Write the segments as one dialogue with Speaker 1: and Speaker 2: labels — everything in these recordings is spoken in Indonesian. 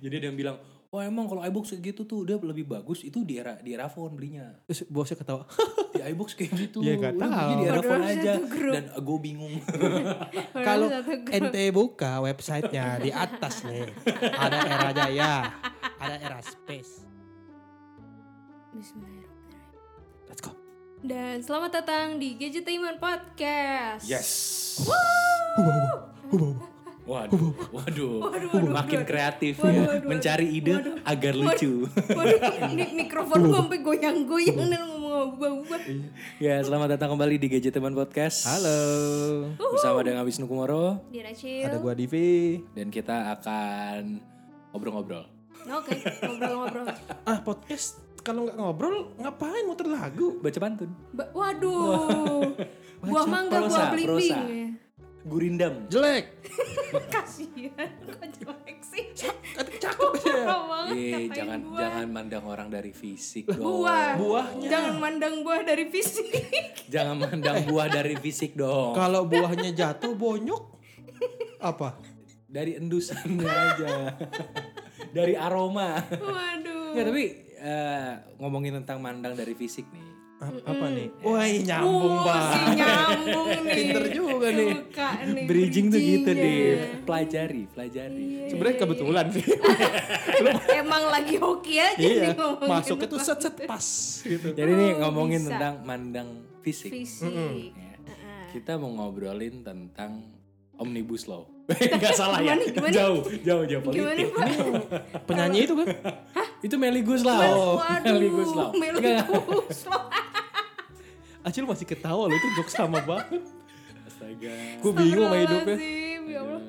Speaker 1: Jadi ada yang bilang, wah emang kalau iBox gitu tuh udah lebih bagus itu di era di era phone belinya.
Speaker 2: Terus bosnya ketawa.
Speaker 1: Di iBox kayak gitu.
Speaker 2: Ya, nggak
Speaker 1: udah
Speaker 2: tahu.
Speaker 1: belinya di era
Speaker 3: Padahal
Speaker 1: phone
Speaker 3: satu
Speaker 1: aja
Speaker 3: grup.
Speaker 1: dan gue bingung.
Speaker 3: Padahal
Speaker 2: Kalau
Speaker 3: satu grup.
Speaker 2: ente buka websitenya di atas nih ada era jaya, ada era space.
Speaker 3: Bismillahirrahmanirrahim.
Speaker 2: Let's go.
Speaker 3: Dan selamat datang di Gadgetainment Podcast.
Speaker 1: yes. Waduh, waduh,
Speaker 3: Waduh, waduh,
Speaker 1: makin
Speaker 3: waduh.
Speaker 1: kreatif
Speaker 3: Waduh,
Speaker 1: ya,
Speaker 3: waduh, waduh.
Speaker 1: mencari ide
Speaker 3: Waduh.
Speaker 1: agar
Speaker 3: Waduh.
Speaker 1: lucu.
Speaker 3: Waduh, ini mikrofon gue sampai goyang-goyang dan ngomong ubah-ubah.
Speaker 1: ya, selamat datang kembali di Gadget Teman Podcast.
Speaker 2: Halo.
Speaker 1: Bersama dengan Wisnu Kumoro
Speaker 3: Dia
Speaker 2: Ada
Speaker 3: Rachel.
Speaker 2: gua DV.
Speaker 1: dan kita akan ngobrol-ngobrol.
Speaker 3: Nah, Oke, ngobrol-ngobrol.
Speaker 2: Ah podcast kalau nggak ngobrol ngapain muter lagu?
Speaker 1: Baca pantun,
Speaker 3: Ba- waduh. Buah mangga,
Speaker 1: Prosa,
Speaker 3: buah
Speaker 1: prosa.
Speaker 3: bling-bling.
Speaker 1: gurindam.
Speaker 2: Jelek.
Speaker 3: Kasihan, kok jelek sih.
Speaker 2: Cakep ya.
Speaker 3: Parah banget
Speaker 1: Eh,
Speaker 3: ngatain
Speaker 1: jangan
Speaker 3: buah.
Speaker 1: jangan mandang orang dari fisik dong.
Speaker 3: buah.
Speaker 2: Buahnya.
Speaker 3: Jangan mandang buah dari fisik.
Speaker 1: Jangan mandang buah dari fisik dong.
Speaker 2: Kalau buahnya jatuh bonyok apa?
Speaker 1: Dari endusannya aja. dari aroma.
Speaker 3: Waduh.
Speaker 1: Nggak, tapi eh, ngomongin tentang mandang dari fisik nih.
Speaker 2: A- apa nih? Wah, ih, nyambung
Speaker 3: Uh,
Speaker 2: banget.
Speaker 3: masih nyambung nih.
Speaker 2: Pinter juga nih.
Speaker 3: Suka nih
Speaker 1: Bridging tuh gitu deh.
Speaker 3: bridgingnya.
Speaker 1: Pelajari, pelajari.
Speaker 3: Iya.
Speaker 2: Sebenarnya kebetulan sih.
Speaker 3: Emang lagi hoki aja
Speaker 2: iya.
Speaker 3: nih ngomongin
Speaker 2: Masuknya tuh
Speaker 3: apa.
Speaker 2: set set pas gitu.
Speaker 1: Jadi nih
Speaker 3: Oh,
Speaker 1: ngomongin
Speaker 3: bisa.
Speaker 1: tentang mandang fisik.
Speaker 3: fisik. Nah.
Speaker 1: Ya.
Speaker 3: Heeh.
Speaker 1: Kita mau ngobrolin tentang omnibus law. Enggak salah ya.
Speaker 3: Gimana, gimana?
Speaker 1: Jauh, jauh, jauh
Speaker 3: Gimana
Speaker 1: politik.
Speaker 3: Pak?
Speaker 2: Penyanyi itu kan?
Speaker 1: Itu Melly Goeslaw. Melly Goeslaw.
Speaker 3: Waduh, Meli
Speaker 1: Enggak.
Speaker 3: Guslau.
Speaker 2: Acil masih ketawa loh itu jok sama banget.
Speaker 1: Astaga.
Speaker 2: Gue bingung sama hidupnya.
Speaker 3: Astagfirullahaladzim, Ya Allah.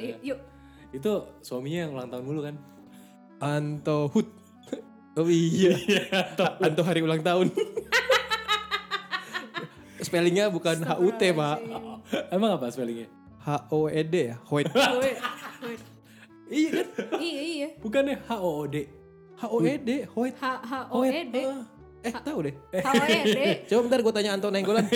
Speaker 3: Eh, Yuk,
Speaker 1: Itu suaminya yang ulang tahun mulu kan?
Speaker 2: Anto Hut. Oh iya. Anto hari ulang tahun. Spellingnya bukan HUT pak.
Speaker 1: Emang apa spellingnya?
Speaker 2: H O E D ya. Hoed.
Speaker 3: Wait, wait.
Speaker 1: Iya kan?
Speaker 3: Iya, iya.
Speaker 1: Bukannya H O O D.
Speaker 2: H O E D. Hoed.
Speaker 3: H H O E D.
Speaker 2: Ah. Eh tahu deh.
Speaker 3: H O E D.
Speaker 2: Coba bentar gue tanya Anto Nenggolan.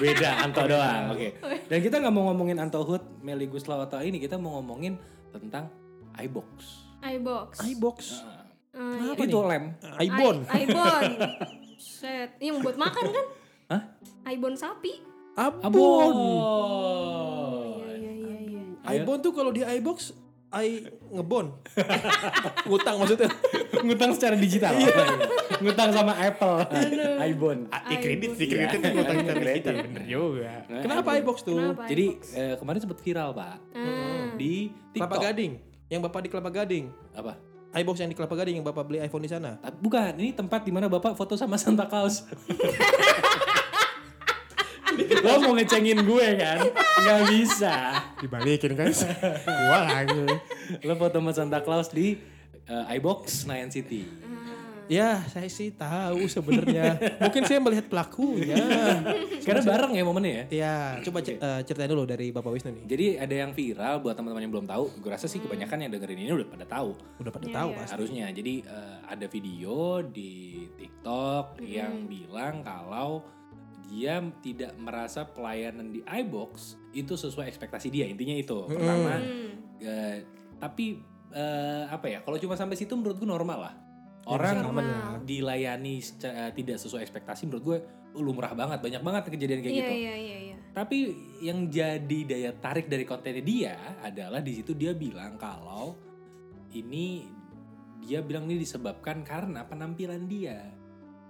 Speaker 1: Beda Anto doang. Oke. Dan kita nggak mau ngomongin Anto Hood, Melly Guslaw atau ini, kita mau ngomongin tentang iBox.
Speaker 3: iBox.
Speaker 2: iBox.
Speaker 3: Eh,
Speaker 1: Apa itu lem?
Speaker 2: iBon.
Speaker 3: I- Ibon. Set. Yang buat makan kan?
Speaker 1: Hah?
Speaker 3: Ibon sapi.
Speaker 2: Abon.
Speaker 1: Abon.
Speaker 3: Iya iya iya iya.
Speaker 2: iBon tuh kalau di iBox I ngebon. Ngutang maksudnya. Iya.
Speaker 1: Ngutang secara digital. Ngutang sama Apple. iBon.
Speaker 3: I kredit sih
Speaker 1: kredit itu ngutang sama kita.
Speaker 2: Bener juga.
Speaker 1: Eh,
Speaker 2: Kenapa iBox tuh?
Speaker 3: Kenapa?
Speaker 1: Jadi eh, kemarin sempat viral, Pak. Hmm. Di
Speaker 2: Kelapa
Speaker 1: TikTok.
Speaker 2: Gading. Yang bapak di Kelapa Gading.
Speaker 1: Apa?
Speaker 2: iBox yang di Kelapa Gading yang bapak beli iPhone di sana.
Speaker 1: Tapi bukan, ini tempat di mana Bapak foto sama Santa Claus. Lo mau ngecengin gue kan? Gak bisa.
Speaker 2: Dibalikin guys. Gua lagi.
Speaker 1: Lo foto sama Santa Claus di eh, iBox Senayan City.
Speaker 2: Ya, saya sih tahu sebenarnya. Mungkin saya melihat pelakunya.
Speaker 1: Karena bareng ya momennya ya.
Speaker 2: ya, coba ce- eh, ceritain dulu dari Bapak Wisnu nih.
Speaker 1: Jadi ada yang viral buat teman-teman yang belum tahu. Gue rasa sih kebanyakan yang dengerin ini udah pada tahu.
Speaker 2: Udah pada tahu,
Speaker 1: iya.
Speaker 2: Pak.
Speaker 1: Harusnya. Jadi eh, ada video di TikTok yang bilang kalau dia tidak merasa pelayanan di iBox itu sesuai ekspektasi dia. Intinya itu. Pertama, eh, tapi eh, apa ya? Kalau cuma sampai situ menurut gue normal lah.
Speaker 2: Iya,
Speaker 1: Orang
Speaker 3: normal.
Speaker 1: dilayani seca- eh, tidak sesuai ekspektasi menurut gue "Oh, lumrah banget. Banyak banget kejadian kayak
Speaker 3: Iya
Speaker 1: gitu.
Speaker 3: iya iya iya.
Speaker 1: Tapi yang jadi daya tarik dari kontennya dia adalah di situ dia bilang kalau ini dia bilang ini disebabkan karena penampilan dia.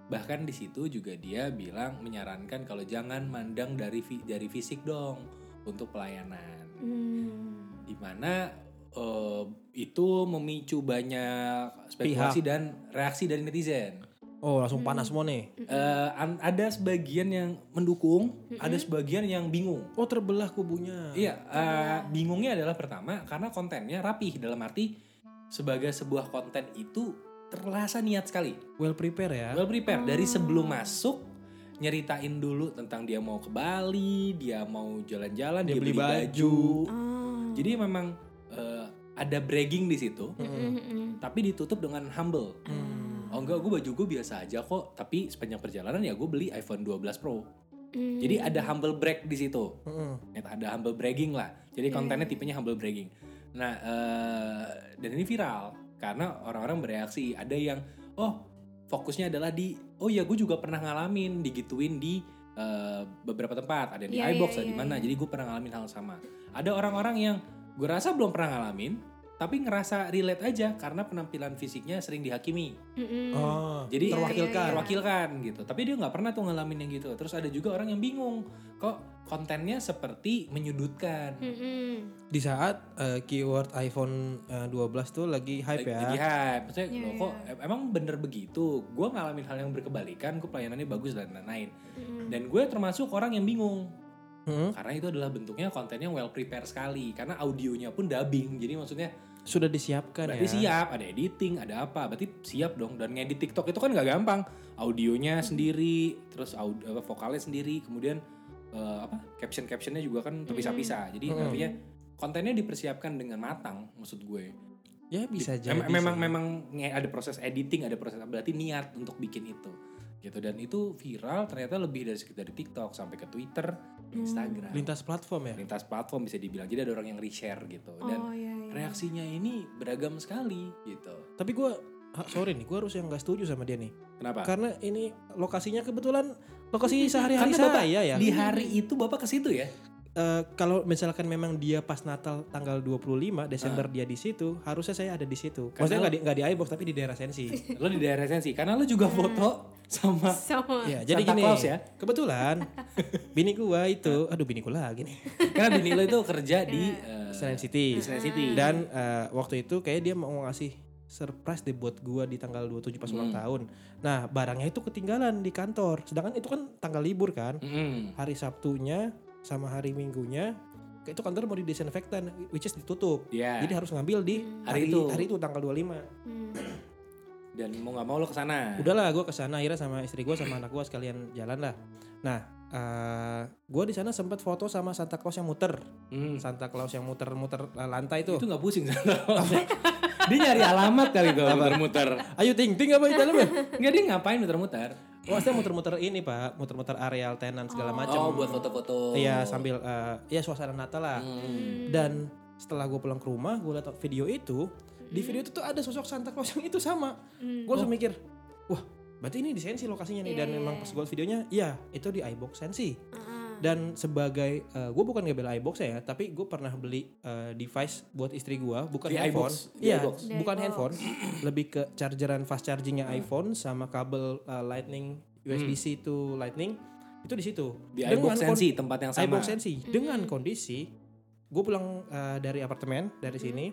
Speaker 1: Bahkan di situ juga dia bilang menyarankan kalau jangan mandang dari fi- dari fisik dong untuk pelayanan.
Speaker 3: Hmm.
Speaker 1: Dimana eh, itu memicu banyak spekulasi dan reaksi dari netizen.
Speaker 2: Oh, langsung panas semua nih.
Speaker 1: Eh, an- ada sebagian yang mendukung, ada sebagian yang bingung.
Speaker 2: Oh, terbelah kubunya.
Speaker 1: Iya, eh, bingungnya adalah pertama karena kontennya rapih dalam arti sebagai sebuah konten itu terasa niat sekali.
Speaker 2: Well prepare ya.
Speaker 1: Well prepare dari sebelum masuk nyeritain dulu tentang dia mau ke Bali, dia mau jalan-jalan, dia,
Speaker 2: Dia
Speaker 1: beli
Speaker 2: beli
Speaker 1: baju.
Speaker 3: Ah.
Speaker 1: Jadi memang eh, ada bragging di situ,
Speaker 3: Mm-mm.
Speaker 1: tapi ditutup dengan humble. Oh enggak, gue baju gue biasa aja kok. Tapi sepanjang perjalanan ya gue beli iPhone 12 Pro.
Speaker 3: Mm.
Speaker 1: Jadi ada humble brag di situ.
Speaker 2: Heeh.
Speaker 1: Ya,
Speaker 3: Iya,
Speaker 1: Net ada humble bragging lah. Jadi kontennya tipenya humble bragging. Nah, eh, dan ini viral karena orang-orang bereaksi. Ada yang, oh fokusnya adalah di, oh ya gue juga pernah ngalamin digituin di eh, beberapa tempat. Ada yang di
Speaker 3: Iya, iya,
Speaker 1: iBox, ada
Speaker 3: iya,
Speaker 1: di mana.
Speaker 3: iya.
Speaker 1: Jadi gue pernah ngalamin hal sama. Ada orang-orang yang gue rasa belum pernah ngalamin, tapi ngerasa relate aja karena penampilan fisiknya sering dihakimi.
Speaker 3: Mm-mm.
Speaker 2: Oh,
Speaker 1: Jadi
Speaker 2: terwakilkan.
Speaker 3: Iya, iya,
Speaker 1: terwakilkan gitu. Tapi dia nggak pernah tuh ngalamin yang gitu. Terus ada juga orang yang bingung, kok kontennya seperti menyudutkan.
Speaker 3: Mm-mm.
Speaker 2: Di saat eh, keyword iPhone eh, 12 tuh lagi hype
Speaker 1: Lagi-
Speaker 2: ya.
Speaker 1: lagi hype. Maksudnya
Speaker 3: Iya,
Speaker 1: loh,
Speaker 3: iya.
Speaker 1: kok em- emang bener begitu. Gue ngalamin hal yang berkebalikan, gue pelayanannya bagus dan lain-lain.
Speaker 3: Mm-mm.
Speaker 1: Dan gue termasuk orang yang bingung
Speaker 2: Hmm,
Speaker 1: karena itu adalah bentuknya kontennya well prepared sekali karena audionya pun dubbing. Jadi maksudnya
Speaker 2: Sudah disiapkan
Speaker 1: berarti
Speaker 2: ya.
Speaker 1: siap, ada editing, ada apa, berarti siap dong. Dan ngedit TikTok itu kan nggak gampang. Audionya
Speaker 2: Hmm.
Speaker 1: sendiri, terus aud- apa, vokalnya sendiri, kemudian eh, apa caption-captionnya juga kan terpisah-pisah. Jadi
Speaker 2: Mm.
Speaker 1: artinya kontennya dipersiapkan dengan matang, maksud gue.
Speaker 2: Ya bisa
Speaker 1: Di-
Speaker 2: jadi.
Speaker 1: em- memang
Speaker 2: sih.
Speaker 1: memang nge- ada proses editing, ada proses berarti niat untuk bikin itu. Gitu dan itu viral ternyata lebih dari sekitar di TikTok sampai ke Twitter,
Speaker 2: Hmm.
Speaker 1: Instagram.
Speaker 2: lintas platform ya.
Speaker 1: Lintas platform bisa dibilang. Jadi ada orang yang reshare gitu dan
Speaker 3: oh, iya, iya.
Speaker 1: reaksinya ini beragam sekali gitu.
Speaker 2: Tapi gue sorry nih, gue harus yang gak setuju sama dia nih.
Speaker 1: Kenapa?
Speaker 2: Karena ini lokasinya kebetulan lokasi sehari-hari
Speaker 1: Karena Bapak
Speaker 2: saya ya.
Speaker 1: Iya, kan Di hari itu Bapak ke situ ya?
Speaker 2: Eh, kalau misalkan memang dia pas Natal tanggal 25 Desember dia di situ, harusnya saya ada di
Speaker 1: Ah. Karena- Iya,
Speaker 2: situ. Maksudnya nggak di nggak di iBox tapi di daerah Sensi.
Speaker 1: Lo di daerah sensi karena lo juga foto sama
Speaker 3: sama
Speaker 2: ya, jadi
Speaker 1: Santa
Speaker 2: gini.
Speaker 1: Claus ya?
Speaker 2: Kebetulan bini gua itu, aduh bini gua lagi nih,
Speaker 1: karena bini lo itu kerja di eh,
Speaker 2: Senen City.
Speaker 1: di Senen City.
Speaker 2: Dan eh, waktu itu kayak dia mau ngasih surprise deh buat gua di tanggal 27 pas ulang
Speaker 1: Hmm.
Speaker 2: tahun. Nah, barangnya itu ketinggalan di kantor. Sedangkan itu kan tanggal libur kan.
Speaker 1: Mm-mm.
Speaker 2: Hari Sabtunya sama hari Minggunya kayak itu kantor mau didesinfektan which is ditutup.
Speaker 1: Iya.
Speaker 2: Jadi harus ngambil di
Speaker 3: Hmm.
Speaker 1: Hari
Speaker 2: hari,
Speaker 1: itu. Eh.
Speaker 2: hari itu tanggal 25.
Speaker 3: Mm.
Speaker 1: dan mau nggak mau lo ke sana.
Speaker 2: Udahlah gua kesana akhirnya sama istri gua sama anak gua sekalian jalan lah. Nah, eh, gua di sana sempat foto sama Santa Claus yang muter.
Speaker 1: Mm.
Speaker 2: Santa Claus yang muter-muter eh, lantai
Speaker 1: Itu
Speaker 2: tuh.
Speaker 1: nggak pusing Santa Claus. dia nyari alamat kali tuh muter-muter.
Speaker 2: Ayo ting ting apa di dalam ya?
Speaker 1: Enggak dia ngapain muter-muter?
Speaker 2: Wah, saya Oh, muter-muter ini pak, muter-muter areal tenan segala macam.
Speaker 1: Oh, buat foto-foto.
Speaker 2: Iya sambil eh, ya suasana Natal lah.
Speaker 1: Hmm.
Speaker 2: Dan setelah gue pulang ke rumah, gue liat video itu. Di video itu tuh ada sosok Santa Claus yang itu sama.
Speaker 3: Mm.
Speaker 2: Gue
Speaker 1: Oh.
Speaker 2: langsung mikir, wah berarti ini di Sensi lokasinya nih.
Speaker 3: Iya,
Speaker 2: Dan
Speaker 3: iya,
Speaker 2: memang
Speaker 3: iya.
Speaker 2: pas gue liat videonya, iya itu di iBox Sensi.
Speaker 3: Ah,
Speaker 2: Dan sebagai gue bukan ngebel iBox ya, tapi gue pernah beli eh, device buat istri gue,
Speaker 1: Di
Speaker 2: bukan handphone.
Speaker 1: iBox, di
Speaker 2: Iya,
Speaker 1: iBox.
Speaker 3: Di
Speaker 2: bukan
Speaker 3: iBox.
Speaker 2: handphone, lebih ke chargeran fast chargingnya
Speaker 1: Hmm.
Speaker 2: iPhone sama kabel eh, Lightning USB-C to Lightning itu di situ.
Speaker 1: Di
Speaker 2: Dengan
Speaker 1: iBox
Speaker 2: kon-
Speaker 1: Sensi tempat yang sama. Hmm.
Speaker 2: iBox Sensi dengan kondisi gue pulang eh, dari apartemen dari
Speaker 1: Hmm.
Speaker 2: sini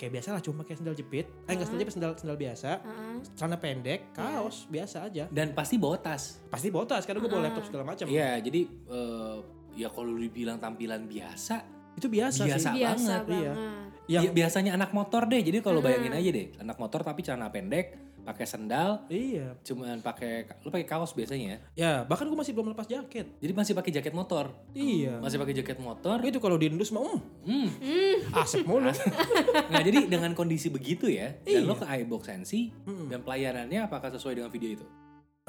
Speaker 2: kayak biasa lah cuma kayak sendal jepit, eh enggak sendal jepit sendal sendal biasa,
Speaker 1: Hmm.
Speaker 3: ah.
Speaker 2: celana pendek, kaos biasa aja.
Speaker 1: Dan pasti bawa tas.
Speaker 2: Pasti bawa tas karena gue bawa laptop segala macam.
Speaker 1: Iya, jadi eh, ya kalau lu dibilang tampilan biasa,
Speaker 2: Itu biasa,
Speaker 1: Biasa.
Speaker 2: sih.
Speaker 3: biasa
Speaker 2: banget, iya. Hmm.
Speaker 1: ya,
Speaker 2: Yang
Speaker 1: biasanya anak motor deh. Jadi kalau bayangin aja deh, anak motor tapi celana pendek, pakai sendal,
Speaker 2: iya.
Speaker 1: cuman pakai lu pakai kaos biasanya ya.
Speaker 2: Ya, bahkan gue masih belum lepas jaket.
Speaker 1: Jadi masih pakai jaket motor.
Speaker 2: Iya.
Speaker 1: Masih pakai jaket motor.
Speaker 2: Itu kalau diendus mau mm,
Speaker 1: Hmm.
Speaker 2: asap mulu.
Speaker 1: Nah, jadi dengan kondisi begitu ya, dan
Speaker 2: Iya.
Speaker 1: lo ke iBox Sensi
Speaker 2: Mm-mm.
Speaker 1: dan pelayanannya apakah sesuai dengan video itu?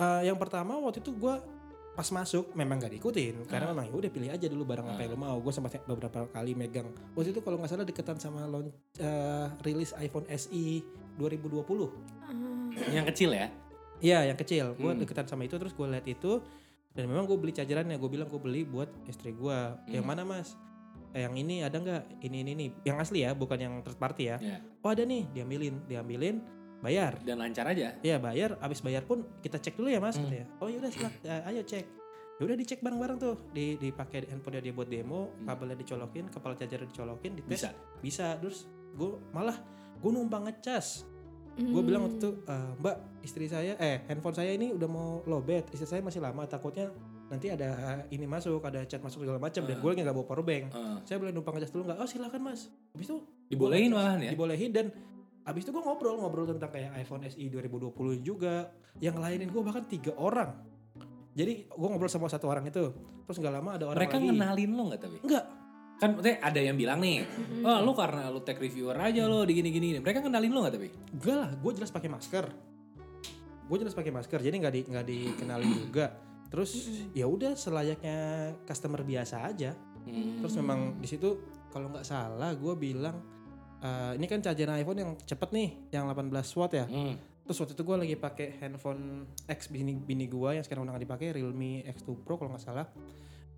Speaker 2: Eh, yang pertama waktu itu gue pas masuk memang gak
Speaker 1: Hmm.
Speaker 2: diikutin karena memang ya udah pilih aja dulu barang apa yang lo mau. Gue sempat beberapa kali megang. Waktu itu kalau nggak salah deketan sama launch eh, rilis iPhone E SE 2020.
Speaker 1: yang kecil ya.
Speaker 2: Iya, yang kecil. Gue
Speaker 1: Hmm.
Speaker 2: deketan sama itu terus gue lihat itu dan memang gue beli chargerannya. Gue bilang gue beli buat istri gue. Yang
Speaker 1: Hmm.
Speaker 2: mana mas? Eh, yang ini ada nggak? Ini ini ini. Yang asli ya, bukan yang third party ya.
Speaker 1: Iya.
Speaker 2: Oh ada nih, diambilin, diambilin, bayar.
Speaker 1: Dan lancar aja.
Speaker 2: Iya bayar, abis bayar pun kita cek dulu ya mas,
Speaker 1: Hmm.
Speaker 2: katanya. Oh yaudah silak, eh, ayo cek. Ya udah dicek bareng-bareng tuh, di dipakai handphone dia buat demo,
Speaker 1: Hmm.
Speaker 2: kabelnya dicolokin, kepala charger dicolokin, dites.
Speaker 1: Bisa.
Speaker 2: Bisa. Terus gue malah gue numpang ngecas.
Speaker 1: Hmm.
Speaker 2: Gue bilang waktu itu, "Eh, Mbak, istri saya, eh handphone saya ini udah mau lowbat, istri saya masih lama, takutnya nanti ada eh, ini masuk, ada chat masuk segala macam dan
Speaker 1: Ah.
Speaker 2: gue lagi nggak bawa power bank.
Speaker 1: Heeh.
Speaker 2: Saya boleh numpang ngecas dulu nggak? Oh silakan mas. Habis itu
Speaker 1: Eh, dibolehin malahan ya.
Speaker 2: dibolehin dan abis itu gue ngobrol ngobrol tentang kayak iPhone E SE 2020 juga yang lainin gue bahkan tiga orang jadi gue ngobrol sama satu orang itu terus nggak lama ada orang
Speaker 1: Mereka
Speaker 2: lagi
Speaker 1: ngenalin lo nggak tapi?
Speaker 2: enggak
Speaker 1: Kan maksudnya ada yang bilang nih,
Speaker 2: Hmm.
Speaker 1: oh lo karena lo tech reviewer aja lo di gini-gini. Mereka kenalin lo nggak tapi?
Speaker 2: enggak lah gue jelas pakai masker gue jelas pakai masker jadi nggak di nggak dikenalin juga terus ya udah selayaknya customer biasa aja
Speaker 1: Hmm.
Speaker 2: terus memang di situ kalau nggak salah gue bilang eh, ini kan chargeran iPhone yang cepet nih, yang 18 watt ya.
Speaker 1: Hmm.
Speaker 2: Terus waktu itu gue lagi pakai handphone ex bini bini gue yang sekarang udah gak dipakai, Realme X2 Pro kalau nggak salah.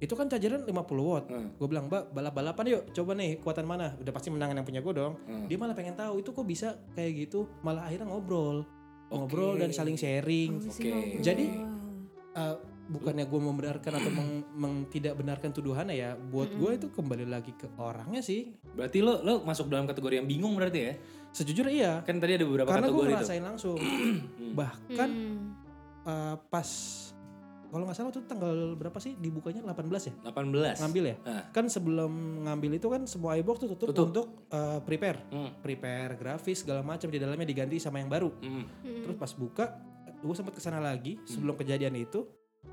Speaker 2: Itu kan chargeran 50 watt.
Speaker 1: Hmm.
Speaker 2: Gue bilang, "Mbak, balap-balapan yuk, coba nih kuatan mana?" Udah pasti menangan yang punya gue dong.
Speaker 1: Hmm.
Speaker 2: Dia malah pengen tahu itu kok bisa kayak gitu, malah akhirnya ngobrol.
Speaker 1: Oke.
Speaker 2: Ngobrol dan saling sharing.
Speaker 3: Oh,
Speaker 1: Oke.
Speaker 3: si ngobrol.
Speaker 2: Jadi- Eh, bukannya gue membenarkan atau meng- meng- tidak benarkan tuduhannya ya buat gue itu kembali lagi ke orangnya sih
Speaker 1: Berarti lo lo masuk dalam kategori yang bingung berarti ya?
Speaker 2: sejujurnya iya
Speaker 1: Kan tadi ada beberapa
Speaker 2: karena gue
Speaker 1: kategori tuh.
Speaker 2: ngerasain langsung bahkan
Speaker 3: Hmm.
Speaker 2: eh, pas kalau nggak salah tuh tanggal berapa sih dibukanya 18 ya
Speaker 1: 18.
Speaker 2: ngambil ya
Speaker 1: Nah.
Speaker 2: kan sebelum ngambil itu kan semua iBook tuh tutup,
Speaker 1: Tutup.
Speaker 2: untuk eh, prepare
Speaker 1: Hmm.
Speaker 2: prepare grafis segala macam di dalamnya diganti sama yang baru
Speaker 1: Hmm.
Speaker 2: Terus pas buka, gue sempat kesana lagi sebelum kejadian itu.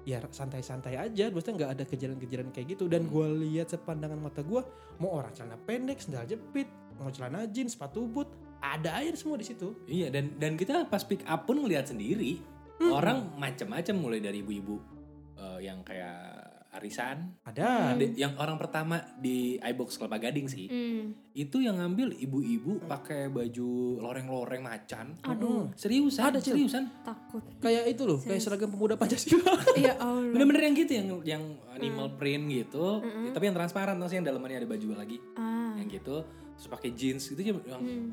Speaker 2: Ya santai-santai aja, maksudnya nggak ada kejadian-kejadian kayak gitu. Dan gue lihat sepandangan mata gue, mau orang celana pendek, sendal jepit, mau celana jeans, sepatu boot, ada air semua di situ.
Speaker 1: Iya dan dan kita pas pick up pun ngelihat sendiri
Speaker 2: Hmm.
Speaker 1: orang macam-macam mulai dari ibu-ibu eh, yang kayak arisan,
Speaker 2: Ada.
Speaker 1: Ada- yang orang pertama di iBox Kelapa Gading sih
Speaker 3: Hmm.
Speaker 1: itu yang ngambil ibu-ibu pakai baju loreng-loreng macan. Hmm.
Speaker 3: Aduh,
Speaker 1: Seriusan,
Speaker 2: Ada, Cil.
Speaker 1: seriusan.
Speaker 3: takut.
Speaker 2: Kayak itu loh, kayak seragam pemuda Pancasila.
Speaker 3: ya Allah.
Speaker 1: Bener-bener yang gitu yang yang
Speaker 2: Hmm.
Speaker 1: animal print gitu, tapi yang transparan tau sih yang dalamannya ada baju lagi.
Speaker 3: Ah. Hmm.
Speaker 1: Yang gitu, terus pakai jeans gitu yang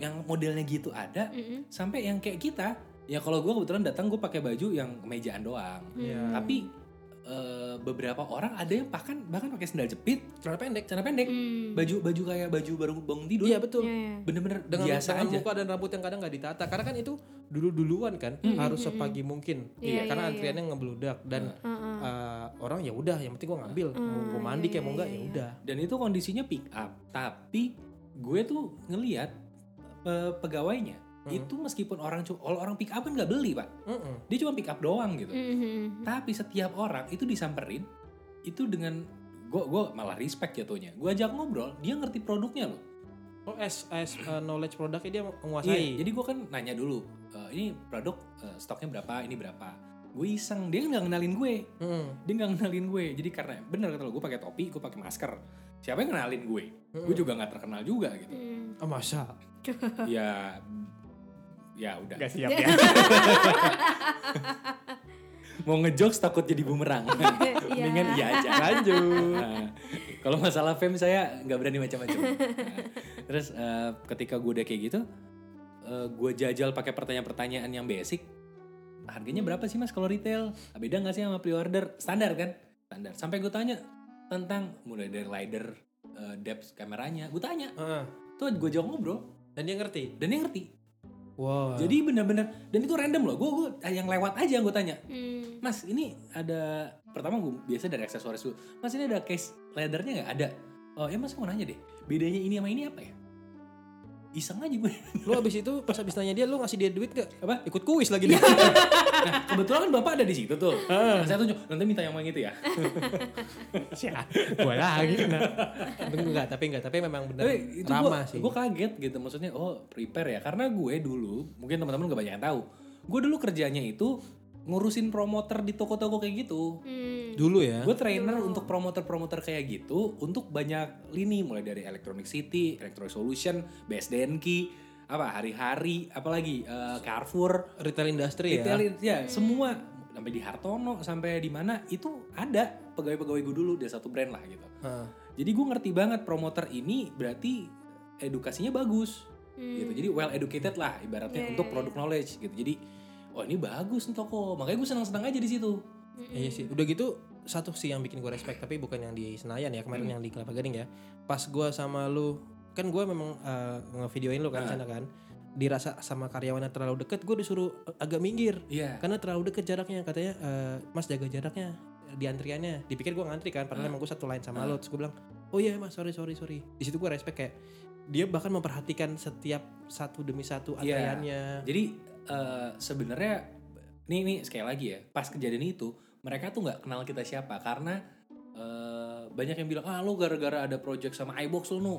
Speaker 1: yang modelnya gitu ada
Speaker 3: Mm-mm.
Speaker 1: sampai yang kayak kita. Ya kalau gue kebetulan datang gue pakai baju yang kemejaan doang.
Speaker 3: Hmm.
Speaker 2: Iya.
Speaker 1: Tapi eh, beberapa orang ada yang bahkan bahkan pakai sandal jepit,
Speaker 2: celana pendek.
Speaker 1: celana pendek,
Speaker 3: Hmm.
Speaker 1: baju baju kayak baju baru bangun tidur.
Speaker 2: Iya betul.
Speaker 3: Ya, ya.
Speaker 1: Bener-bener
Speaker 2: Dengan,
Speaker 1: biasa
Speaker 2: dengan
Speaker 1: aja.
Speaker 2: muka dan rambut yang kadang nggak ditata. Karena kan itu dulu-duluan kan, harus sepagi mungkin.
Speaker 3: Iya,
Speaker 2: Karena
Speaker 3: iya,
Speaker 2: antriannya ngebludak dan eh, orang ya udah, yang penting gue ngambil. mau gua mandi kayak mau
Speaker 3: Iya,
Speaker 2: nggak ya udah.
Speaker 1: dan itu kondisinya pick up tapi gue tuh ngeliat eh, pegawainya
Speaker 2: Hmm.
Speaker 1: itu meskipun orang cu- kalau orang pick up kan nggak beli pak
Speaker 2: Mm-mm.
Speaker 1: dia cuma pick up doang gitu
Speaker 3: Mhm.
Speaker 1: tapi setiap orang itu disamperin itu dengan gue gue malah respect jatuhnya gue ajak ngobrol dia ngerti produknya loh
Speaker 2: Oh, as, as uh, knowledge produknya dia
Speaker 1: Iya,
Speaker 2: menguasai.
Speaker 1: jadi gue kan nanya dulu "Eh, ini produk eh, stoknya berapa ini berapa gue iseng dia nggak kenalin gue
Speaker 2: Hmm,
Speaker 1: dia nggak kenalin gue jadi karena bener kata lo gue pakai topi gue pakai masker siapa yang kenalin gue gue juga nggak terkenal juga gitu
Speaker 3: Hmm.
Speaker 2: Oh, masa?
Speaker 1: ya ya udah
Speaker 4: Gak
Speaker 2: Iya,
Speaker 4: siap ya.
Speaker 1: mau ngejokes takut jadi bumerang mendingan iya aja
Speaker 2: Lanjut.
Speaker 1: Nah, kalau masalah fame saya nggak berani macam-macam Nah, terus eh, ketika gue udah kayak gitu eh, gue jajal pakai pertanyaan-pertanyaan yang basic harganya berapa sih mas kalau retail Nah, beda nggak sih sama pre-order standar kan standar sampai gue tanya tentang mulai dari lidar eh, depth kameranya gue tanya
Speaker 2: Heeh.
Speaker 1: tuh gue jawab ngobrol
Speaker 2: Dan dia ngerti.
Speaker 1: dan dia ngerti
Speaker 2: Wow.
Speaker 1: jadi bener-bener dan itu random loh gue gue yang lewat aja gue tanya
Speaker 3: Hmm.
Speaker 1: Mas ini ada pertama gue biasa dari aksesoris dulu. Mas ini ada case leathernya nggak ada? Oh ya mas mau nanya deh. Bedanya ini sama ini apa ya? Iseng aja gue.
Speaker 2: lu abis itu pas abis nanya dia lu ngasih dia duit gak?
Speaker 1: Apa?
Speaker 2: Ikut kuis lagi nih.
Speaker 1: Nah kebetulan kan bapak ada di situ tuh. Nah, Saya tunjuk nanti minta yang yang itu ya.
Speaker 4: Siap. Gue lagi kena.
Speaker 2: enggak, tapi enggak, tapi memang benar
Speaker 1: Tapi itu
Speaker 2: ramah
Speaker 1: gue
Speaker 2: Nah, sih.
Speaker 1: gue kaget gitu. Maksudnya oh prepare ya. Karena gue dulu mungkin teman-teman gak banyak yang tahu. Gue dulu kerjanya itu ngurusin promoter di toko-toko kayak gitu.
Speaker 3: Hmm.
Speaker 2: Dulu ya.
Speaker 1: Gue trainer untuk promoter-promoter kayak gitu untuk banyak lini mulai dari Electronic City, Electronic Solution, BSDNK, apa hari-hari, apalagi eh, Carrefour,
Speaker 2: Retail industry ya.
Speaker 1: retail
Speaker 3: Iya.
Speaker 1: ya semua sampai di Hartono sampai di mana itu ada pegawai-pegawai gue dulu dari satu brand lah gitu.
Speaker 2: Heeh.
Speaker 1: Jadi gue ngerti banget promoter ini berarti edukasinya bagus gitu. Jadi well educated lah ibaratnya
Speaker 3: Hmm. Iya,
Speaker 1: untuk
Speaker 3: iya,
Speaker 1: produk knowledge gitu. Jadi oh ini bagus nih toko. Makanya gue senang-senang aja di situ.
Speaker 2: Iya sih. Udah gitu satu sih yang bikin gue respect tapi bukan yang di Senayan
Speaker 1: Hmm.
Speaker 2: ya kemarin yang di Kelapa Gading ya. Pas gue sama lu kan gue memang eh, ngevideoin lu kan
Speaker 1: Nah.
Speaker 2: sana kan. Dirasa sama karyawannya terlalu deket gue disuruh eh, agak minggir.
Speaker 1: Iya.
Speaker 2: karena terlalu dekat jaraknya katanya "Eh, mas jaga jaraknya di antriannya dipikir gue ngantri kan padahal emang gue satu line sama
Speaker 1: Ah.
Speaker 2: lo terus gue bilang oh iya mas sorry sorry sorry di situ gue respect kayak dia bahkan memperhatikan setiap satu demi satu
Speaker 1: Iya.
Speaker 2: antriannya
Speaker 1: Jadi eh, sebenarnya nih nih sekali lagi ya, pas kejadian itu mereka tuh nggak kenal kita siapa karena eh, banyak yang bilang ah lu gara-gara ada project sama iBox lu nu.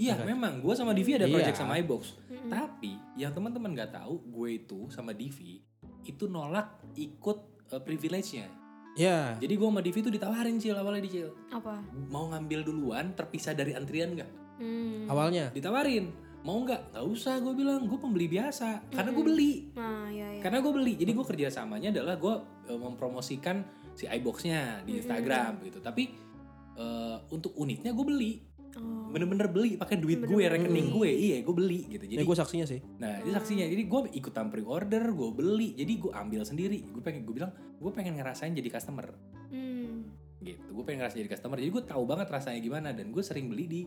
Speaker 1: Iya
Speaker 2: Enggak.
Speaker 1: memang gue sama Divi ada
Speaker 2: Iya.
Speaker 1: project sama iBox.
Speaker 3: Mm-mm.
Speaker 1: Tapi yang teman-teman nggak tahu gue itu sama Divi itu nolak ikut eh, privilege-nya.
Speaker 2: ya
Speaker 1: Jadi gue sama Divi tuh ditawarin Cil awalnya di Cil.
Speaker 3: apa?
Speaker 1: Mau ngambil duluan terpisah dari antrian nggak?
Speaker 3: Hmm.
Speaker 2: awalnya
Speaker 1: Ditawarin. mau nggak nggak usah gue bilang gue pembeli biasa karena gue beli
Speaker 3: Nah, ya ya.
Speaker 1: karena gue beli jadi gue kerjasamanya adalah gue eh, mempromosikan si iBoxnya di
Speaker 3: Mm-mm.
Speaker 1: Instagram gitu tapi eh, untuk unitnya gue beli
Speaker 3: Oh.
Speaker 1: bener-bener beli pakai duit gue
Speaker 3: Bener-bener
Speaker 1: rekening gue
Speaker 3: beli.
Speaker 1: iya gue beli gitu
Speaker 2: Ini
Speaker 1: jadi
Speaker 2: gue Ya, saksinya sih.
Speaker 1: nah ini saksinya jadi gue ikutan pre-order gue beli jadi gue ambil sendiri gue pengen gue bilang gue pengen ngerasain jadi customer
Speaker 3: Hmm.
Speaker 1: gitu gue pengen ngerasain jadi customer jadi gue tahu banget rasanya gimana dan gue sering beli di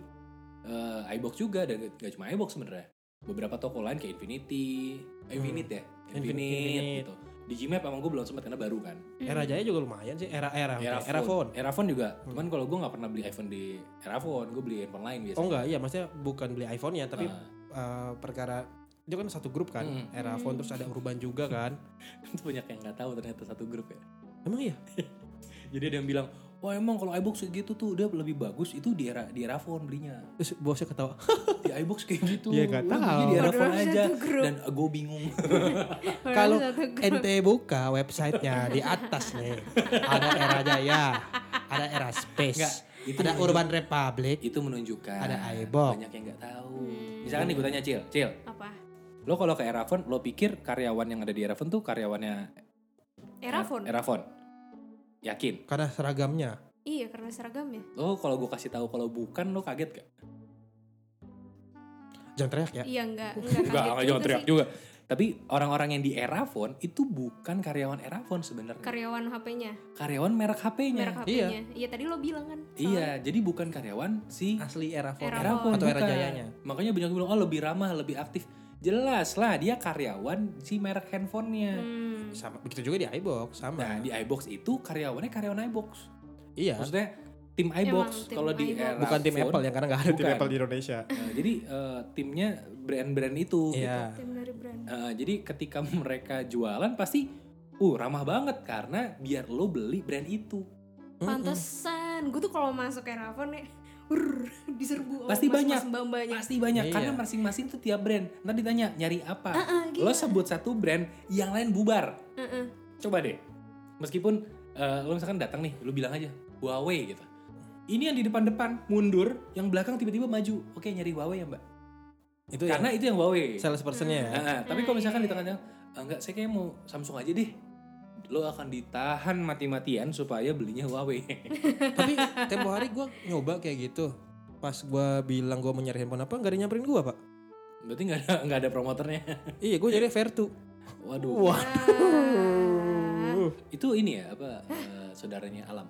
Speaker 1: eh, iBox juga dan gak cuma iBox sebenarnya beberapa toko lain kayak Infinity eh, Infinite ya Infinite,
Speaker 2: Hmm. Infinite.
Speaker 1: gitu di Gmap emang gue belum sempat karena baru kan
Speaker 2: Era Jaya juga lumayan sih. Era era era,
Speaker 1: Eraphone.
Speaker 2: phone.
Speaker 1: Eraphone juga
Speaker 2: Hmm.
Speaker 1: cuman kalau gue nggak pernah beli iPhone di Eraphone gue beli handphone lain biasanya
Speaker 2: Oh enggak, iya maksudnya bukan beli iPhone-nya tapi
Speaker 1: gitu. Ah.
Speaker 2: eh, perkara itu kan satu grup kan.
Speaker 1: Hmm.
Speaker 2: Era phone terus ada Urban juga kan.
Speaker 1: Itu banyak yang nggak tahu ternyata satu grup ya
Speaker 2: Emang iya?
Speaker 1: jadi ada yang bilang wah emang kalau iBox kayak gitu tuh dia lebih bagus itu di era di Eraphone belinya
Speaker 2: Terus bosnya ketawa.
Speaker 1: di iBox kayak gitu
Speaker 2: Iya, nggak
Speaker 1: Udah,
Speaker 2: tahu.
Speaker 1: jadi di Eraphone
Speaker 3: Padahal
Speaker 1: aja
Speaker 3: Oh, satu grup.
Speaker 1: dan gue bingung
Speaker 3: Orang
Speaker 2: Kalau
Speaker 3: satu grup.
Speaker 2: Ente buka websitenya di atas nih. Ada Era Jaya, ada Era Space,
Speaker 1: Enggak, itu
Speaker 2: ada
Speaker 1: menunjuk-
Speaker 2: Urban Republic.
Speaker 1: itu menunjukkan
Speaker 2: Ada iBox.
Speaker 1: banyak yang nggak tahu
Speaker 3: Hmm.
Speaker 1: misalkan nih gue tanya Cil Cil
Speaker 3: apa?
Speaker 1: lo kalau ke Erafon lo pikir karyawan yang ada di Erafon tuh karyawannya
Speaker 3: Erafon.
Speaker 1: Erafon yakin
Speaker 2: Karena seragamnya.
Speaker 3: Iya, karena seragam ya.
Speaker 1: lo kalau gue kasih tahu kalau bukan lo kaget gak
Speaker 2: Jangan teriak ya.
Speaker 3: Iya, enggak,
Speaker 1: Enggak,
Speaker 3: enggak. kaget
Speaker 1: enggak
Speaker 3: juga
Speaker 1: jangan teriak
Speaker 3: sih.
Speaker 1: juga tapi orang-orang yang di Erafon itu bukan karyawan Erafon sebenarnya
Speaker 3: Karyawan HP-nya,
Speaker 1: karyawan merek HP-nya
Speaker 3: merek HP-nya. Iya. tadi lo bilang kan. soalnya.
Speaker 1: iya jadi bukan karyawan si
Speaker 2: Asli Era phone.
Speaker 3: Era
Speaker 1: Erafon
Speaker 3: Erafon.
Speaker 2: atau Era
Speaker 1: bukan.
Speaker 2: Jayanya.
Speaker 1: makanya banyak yang bilang oh lebih ramah lebih aktif jelas lah dia karyawan si merek handphonenya
Speaker 3: Hmm.
Speaker 2: Sama begitu juga di iBox sama.
Speaker 1: Nah di iBox itu karyawannya karyawan iBox
Speaker 2: iya.
Speaker 1: Maksudnya tim iBox
Speaker 3: Emang tim
Speaker 1: Kalau di
Speaker 3: iBox.
Speaker 1: era
Speaker 2: Bukan tim
Speaker 1: phone,
Speaker 2: Apple ya karena nggak ada tim
Speaker 1: Bukan.
Speaker 2: Apple di Indonesia.
Speaker 1: eh, Jadi eh, timnya brand-brand itu gitu.
Speaker 2: Iya.
Speaker 3: Tim dari brand.
Speaker 1: Eh, Jadi ketika mereka jualan pasti Uh ramah banget karena biar lo beli brand itu
Speaker 3: Pantesan, gue tuh kalau masuk Erafon ya, ur, diserbu
Speaker 1: Pasti banyak.
Speaker 3: mas mbak-mbaknya.
Speaker 1: Pasti banyak
Speaker 2: Iya.
Speaker 1: karena masing-masing tuh tiap brand Ntar ditanya nyari apa
Speaker 3: Heeh, Ah, gila. Ah,
Speaker 1: Lo sebut satu brand yang lain bubar
Speaker 3: Heeh.
Speaker 1: Coba deh Meskipun eh, lo misalkan datang nih Lo bilang aja Huawei gitu Ini yang di depan-depan mundur Yang belakang tiba-tiba maju Oke nyari Huawei ya mbak
Speaker 2: Itu
Speaker 1: karena itu ya? yang Huawei.
Speaker 2: yang sales personnya ya.
Speaker 1: Nah, tapi kalau misalkan di tengahnya "Ah, enggak saya kayak mau Samsung aja deh. Lo akan ditahan mati-matian supaya belinya Huawei.
Speaker 2: Tapi tempo hari gue nyoba kayak gitu. Pas gue bilang gue mau nyari handphone apa nggak ada yang nyamperin gue pak.
Speaker 1: Berarti nggak ada nggak ada promoternya.
Speaker 2: Iya gue nyari Vertu.
Speaker 1: Waduh.
Speaker 2: Wah.
Speaker 3: Ah.
Speaker 1: Itu ini ya apa eh, saudaranya Alam.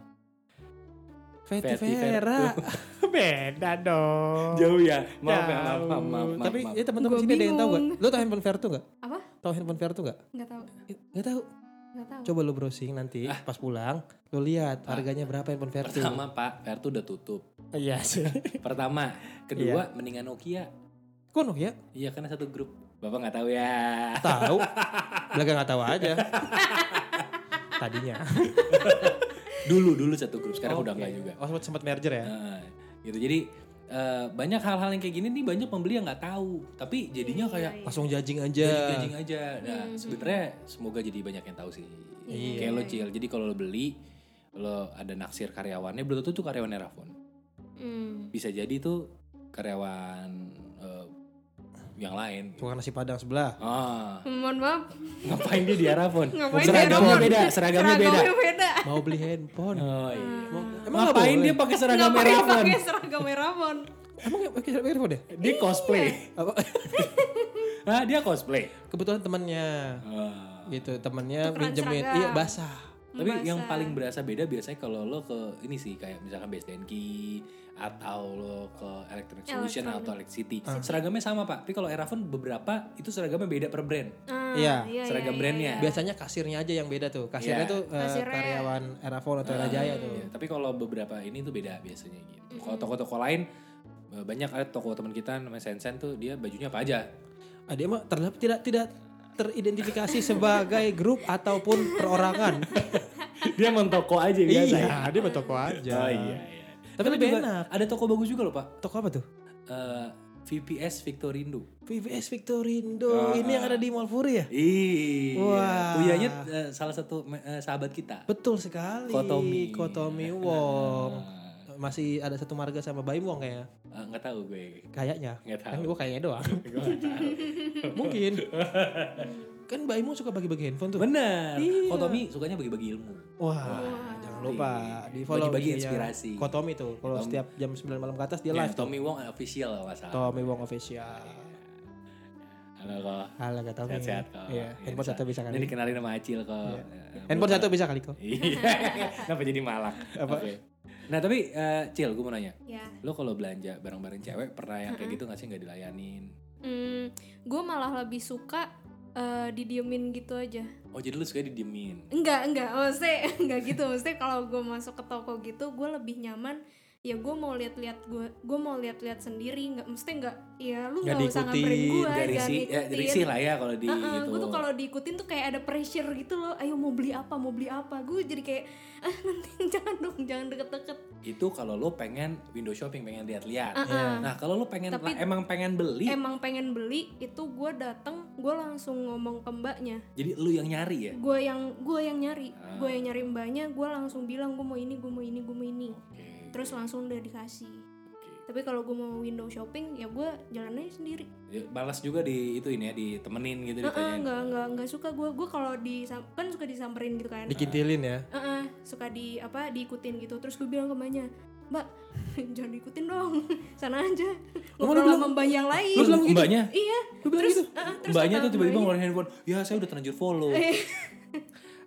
Speaker 2: Veti
Speaker 1: Veti
Speaker 2: Vera.
Speaker 4: Beda dong.
Speaker 1: Jauh ya. Maaf ya, maaf,
Speaker 4: Jauh.
Speaker 1: maaf, maaf, maaf,
Speaker 2: Tapi
Speaker 1: maaf.
Speaker 2: ya teman-teman
Speaker 3: Gua
Speaker 2: sini ada yang tahu gak?
Speaker 3: bingung.
Speaker 2: Lo tau handphone Vertu gak?
Speaker 3: Apa?
Speaker 2: Tau handphone Vertu gak?
Speaker 3: Nggak tahu,
Speaker 2: Gak tahu.
Speaker 3: nggak tahu.
Speaker 2: Coba lo browsing nanti pas pulang. Lo lihat harganya berapa handphone Vertu.
Speaker 1: Ah. Pertama Pak, Vertu udah tutup.
Speaker 2: Iya sih.
Speaker 1: Pertama, kedua mendingan Nokia.
Speaker 2: Kono ya?
Speaker 1: Iya karena satu grup. Bapak nggak tahu ya.
Speaker 2: Tahu. Belaga nggak tahu aja. Tadinya.
Speaker 1: Dulu dulu satu grup, sekarang udah
Speaker 2: Oke.
Speaker 1: nggak juga.
Speaker 2: Oh sempat sempat merger ya?
Speaker 1: Nah, gitu jadi eh, banyak hal-hal yang kayak gini nih banyak pembeli yang nggak tahu tapi jadinya
Speaker 3: Iya,
Speaker 1: kayak
Speaker 3: iya.
Speaker 2: Langsung judging aja.
Speaker 1: jajing-jajing aja nah
Speaker 3: Hmm.
Speaker 1: sebenarnya semoga jadi banyak yang tahu sih
Speaker 3: Iya.
Speaker 1: kayak lo cil jadi kalau lo beli lo ada naksir karyawannya belum tentu tuh karyawan Erafon
Speaker 3: Hmm.
Speaker 1: bisa jadi tuh karyawan eh, yang lain
Speaker 2: Bukan nasi padang sebelah.
Speaker 1: ah
Speaker 3: Mohon maaf,
Speaker 1: ngapain dia di Erafon
Speaker 3: Ngapain
Speaker 2: dia
Speaker 1: seragamnya
Speaker 2: Erafon?
Speaker 1: beda seragamnya beda
Speaker 3: seragamnya beda.
Speaker 2: Mau beli handphone.
Speaker 1: oh iya
Speaker 2: Emang nggak
Speaker 1: ngapain
Speaker 2: boleh?
Speaker 1: dia pakai seragam
Speaker 3: Hmm. Ngapain
Speaker 1: Erafon
Speaker 3: pakai Iya. seragam Erafon?
Speaker 2: Emang nggak pakai handphone deh?
Speaker 1: dia cosplay
Speaker 2: Apa?
Speaker 1: ah dia cosplay
Speaker 2: Kebetulan temannya
Speaker 1: Ah.
Speaker 2: gitu temannya
Speaker 3: Tukeran
Speaker 2: pinjemin
Speaker 3: seragam.
Speaker 2: iya basah
Speaker 1: Tapi yang
Speaker 3: Basah.
Speaker 1: paling berasa beda biasanya kalau lo ke ini sih kayak misalkan Best Denki atau lo ke Electronic Solution
Speaker 3: Electronic.
Speaker 1: atau Electric City. Seragamnya sama, Pak. Tapi kalau Erafon beberapa itu seragamnya beda per brand.
Speaker 3: Ah,
Speaker 2: Iya,
Speaker 1: seragam brandnya.
Speaker 3: iya.
Speaker 2: biasanya kasirnya aja yang beda tuh kasirnya
Speaker 1: Iya.
Speaker 2: tuh eh,
Speaker 3: Kasirnya.
Speaker 2: karyawan Erafon atau Era Jaya tuh
Speaker 1: Ya, tapi kalau beberapa ini tuh beda biasanya gitu. Kalau toko-toko lain eh, banyak ada toko teman kita namanya Sensen tuh dia bajunya apa aja.
Speaker 2: ada emang terlihat tidak tidak teridentifikasi sebagai grup ataupun perorangan
Speaker 1: dia emang toko aja
Speaker 4: Iya, dia mah toko aja.
Speaker 1: Oh, iya, iya.
Speaker 2: Tapi
Speaker 1: Tapi,
Speaker 2: lebih
Speaker 1: juga
Speaker 2: enak.
Speaker 1: ada toko bagus juga loh, Pak.
Speaker 2: toko apa tuh
Speaker 1: Eh, VPS Victorindo.
Speaker 2: VVS
Speaker 1: Ah.
Speaker 2: Victorindo ini yang ada di Mall Fury ya
Speaker 1: Iya.
Speaker 2: Wah.
Speaker 1: Uyanya, eh, salah satu eh, sahabat kita.
Speaker 2: betul sekali
Speaker 1: Kotomi.
Speaker 2: Kotomi Wong
Speaker 1: Ah.
Speaker 2: masih ada satu marga sama Baim Wong kayaknya.
Speaker 1: Eh, nggak tahu gue
Speaker 2: Kayaknya.
Speaker 1: nggak
Speaker 2: Kan
Speaker 1: tahu
Speaker 2: gue kayaknya doang.
Speaker 1: gue nggak tahu
Speaker 2: Mungkin. kan Baim Wong suka bagi-bagi handphone tuh.
Speaker 1: bener
Speaker 2: Iya.
Speaker 1: Kotomi sukanya bagi-bagi ilmu
Speaker 2: Wah,
Speaker 3: Wah.
Speaker 2: jangan lupa di follow
Speaker 1: iya. bagi-bagi
Speaker 2: IG-nya
Speaker 1: inspirasi
Speaker 2: Kotomi tuh kalau
Speaker 1: Kotomi.
Speaker 2: setiap jam 9 malam ke atas dia
Speaker 1: Ya,
Speaker 2: Iya, live tuh.
Speaker 1: Tommy Wong official kalau nggak salah
Speaker 2: Tommy Wong official.
Speaker 1: halo kok
Speaker 2: Halo gak tau
Speaker 1: sehat-sehat kok
Speaker 2: Iya, handphone satu bisa
Speaker 1: ini
Speaker 2: kali.
Speaker 1: dikenalin sama Acil kok
Speaker 2: Iya.
Speaker 1: Eh,
Speaker 2: Handphone satu bisa kali kok.
Speaker 1: Iya. Kenapa jadi malang?
Speaker 2: Apa?
Speaker 1: Oke. Nah tapi eh, Cil gue mau nanya.
Speaker 3: Ya.
Speaker 1: Lo kalau belanja bareng-bareng cewek pernah yang kayak gitu gak sih gak dilayanin?
Speaker 3: Hmm, gue malah lebih suka eh, didiemin gitu aja.
Speaker 1: Oh jadi lu suka didiemin?
Speaker 3: Enggak, enggak. Maksudnya enggak gitu. Maksudnya kalau gue masuk ke toko gitu, gue lebih nyaman ya gue mau lihat-lihat gue gue mau lihat-lihat sendiri nggak mesti nggak ya lu
Speaker 2: Nggak
Speaker 3: nggak usah
Speaker 2: diikutin,
Speaker 3: ngamperin gue
Speaker 1: Gak
Speaker 3: jangan
Speaker 1: risih, ya,
Speaker 3: ngikutin.
Speaker 1: risih lah ya kalau di
Speaker 3: Heeh,
Speaker 1: gitu.
Speaker 3: gue tuh kalau diikutin tuh kayak ada pressure gitu loh ayo mau beli apa mau beli apa gue jadi kayak ah nanti jangan dong jangan deket-deket
Speaker 1: Itu kalau lo pengen window shopping pengen lihat-lihat.
Speaker 2: Iya.
Speaker 1: Nah kalau lo pengen
Speaker 3: Tapi-
Speaker 1: lah, emang pengen beli,
Speaker 3: emang pengen beli itu gue dateng gue langsung ngomong ke mbaknya
Speaker 1: jadi lo yang nyari ya.
Speaker 3: gue yang gue yang nyari
Speaker 1: Ah.
Speaker 3: gue yang nyari mbaknya gue langsung bilang gue mau ini gue mau ini gue mau ini
Speaker 1: Oke.
Speaker 3: terus langsung udah dikasih tapi kalau gue mau window shopping ya gue jalannya sendiri
Speaker 1: Ya, Balas juga di itu ini ya ditemenin gitu
Speaker 3: Heeh,
Speaker 1: ditanyain.
Speaker 3: nggak nggak nggak suka gue gue kalau di kan suka disamperin gitu kan
Speaker 2: Dikintilin ya.
Speaker 3: Heeh, suka di apa diikutin gitu terus gue bilang ke mbaknya mbak jangan diikutin dong sana aja ngobrol
Speaker 2: bilang-
Speaker 3: sama mbak yang lain
Speaker 1: Terus mbaknya,
Speaker 3: iya
Speaker 2: Lu bilang gitu.
Speaker 1: ah,
Speaker 3: heeh, terus
Speaker 1: mbaknya Iya.
Speaker 3: kata
Speaker 1: tuh tiba-tiba
Speaker 3: mbaknya,
Speaker 1: ngeluarin handphone. Ya saya udah terlanjur follow.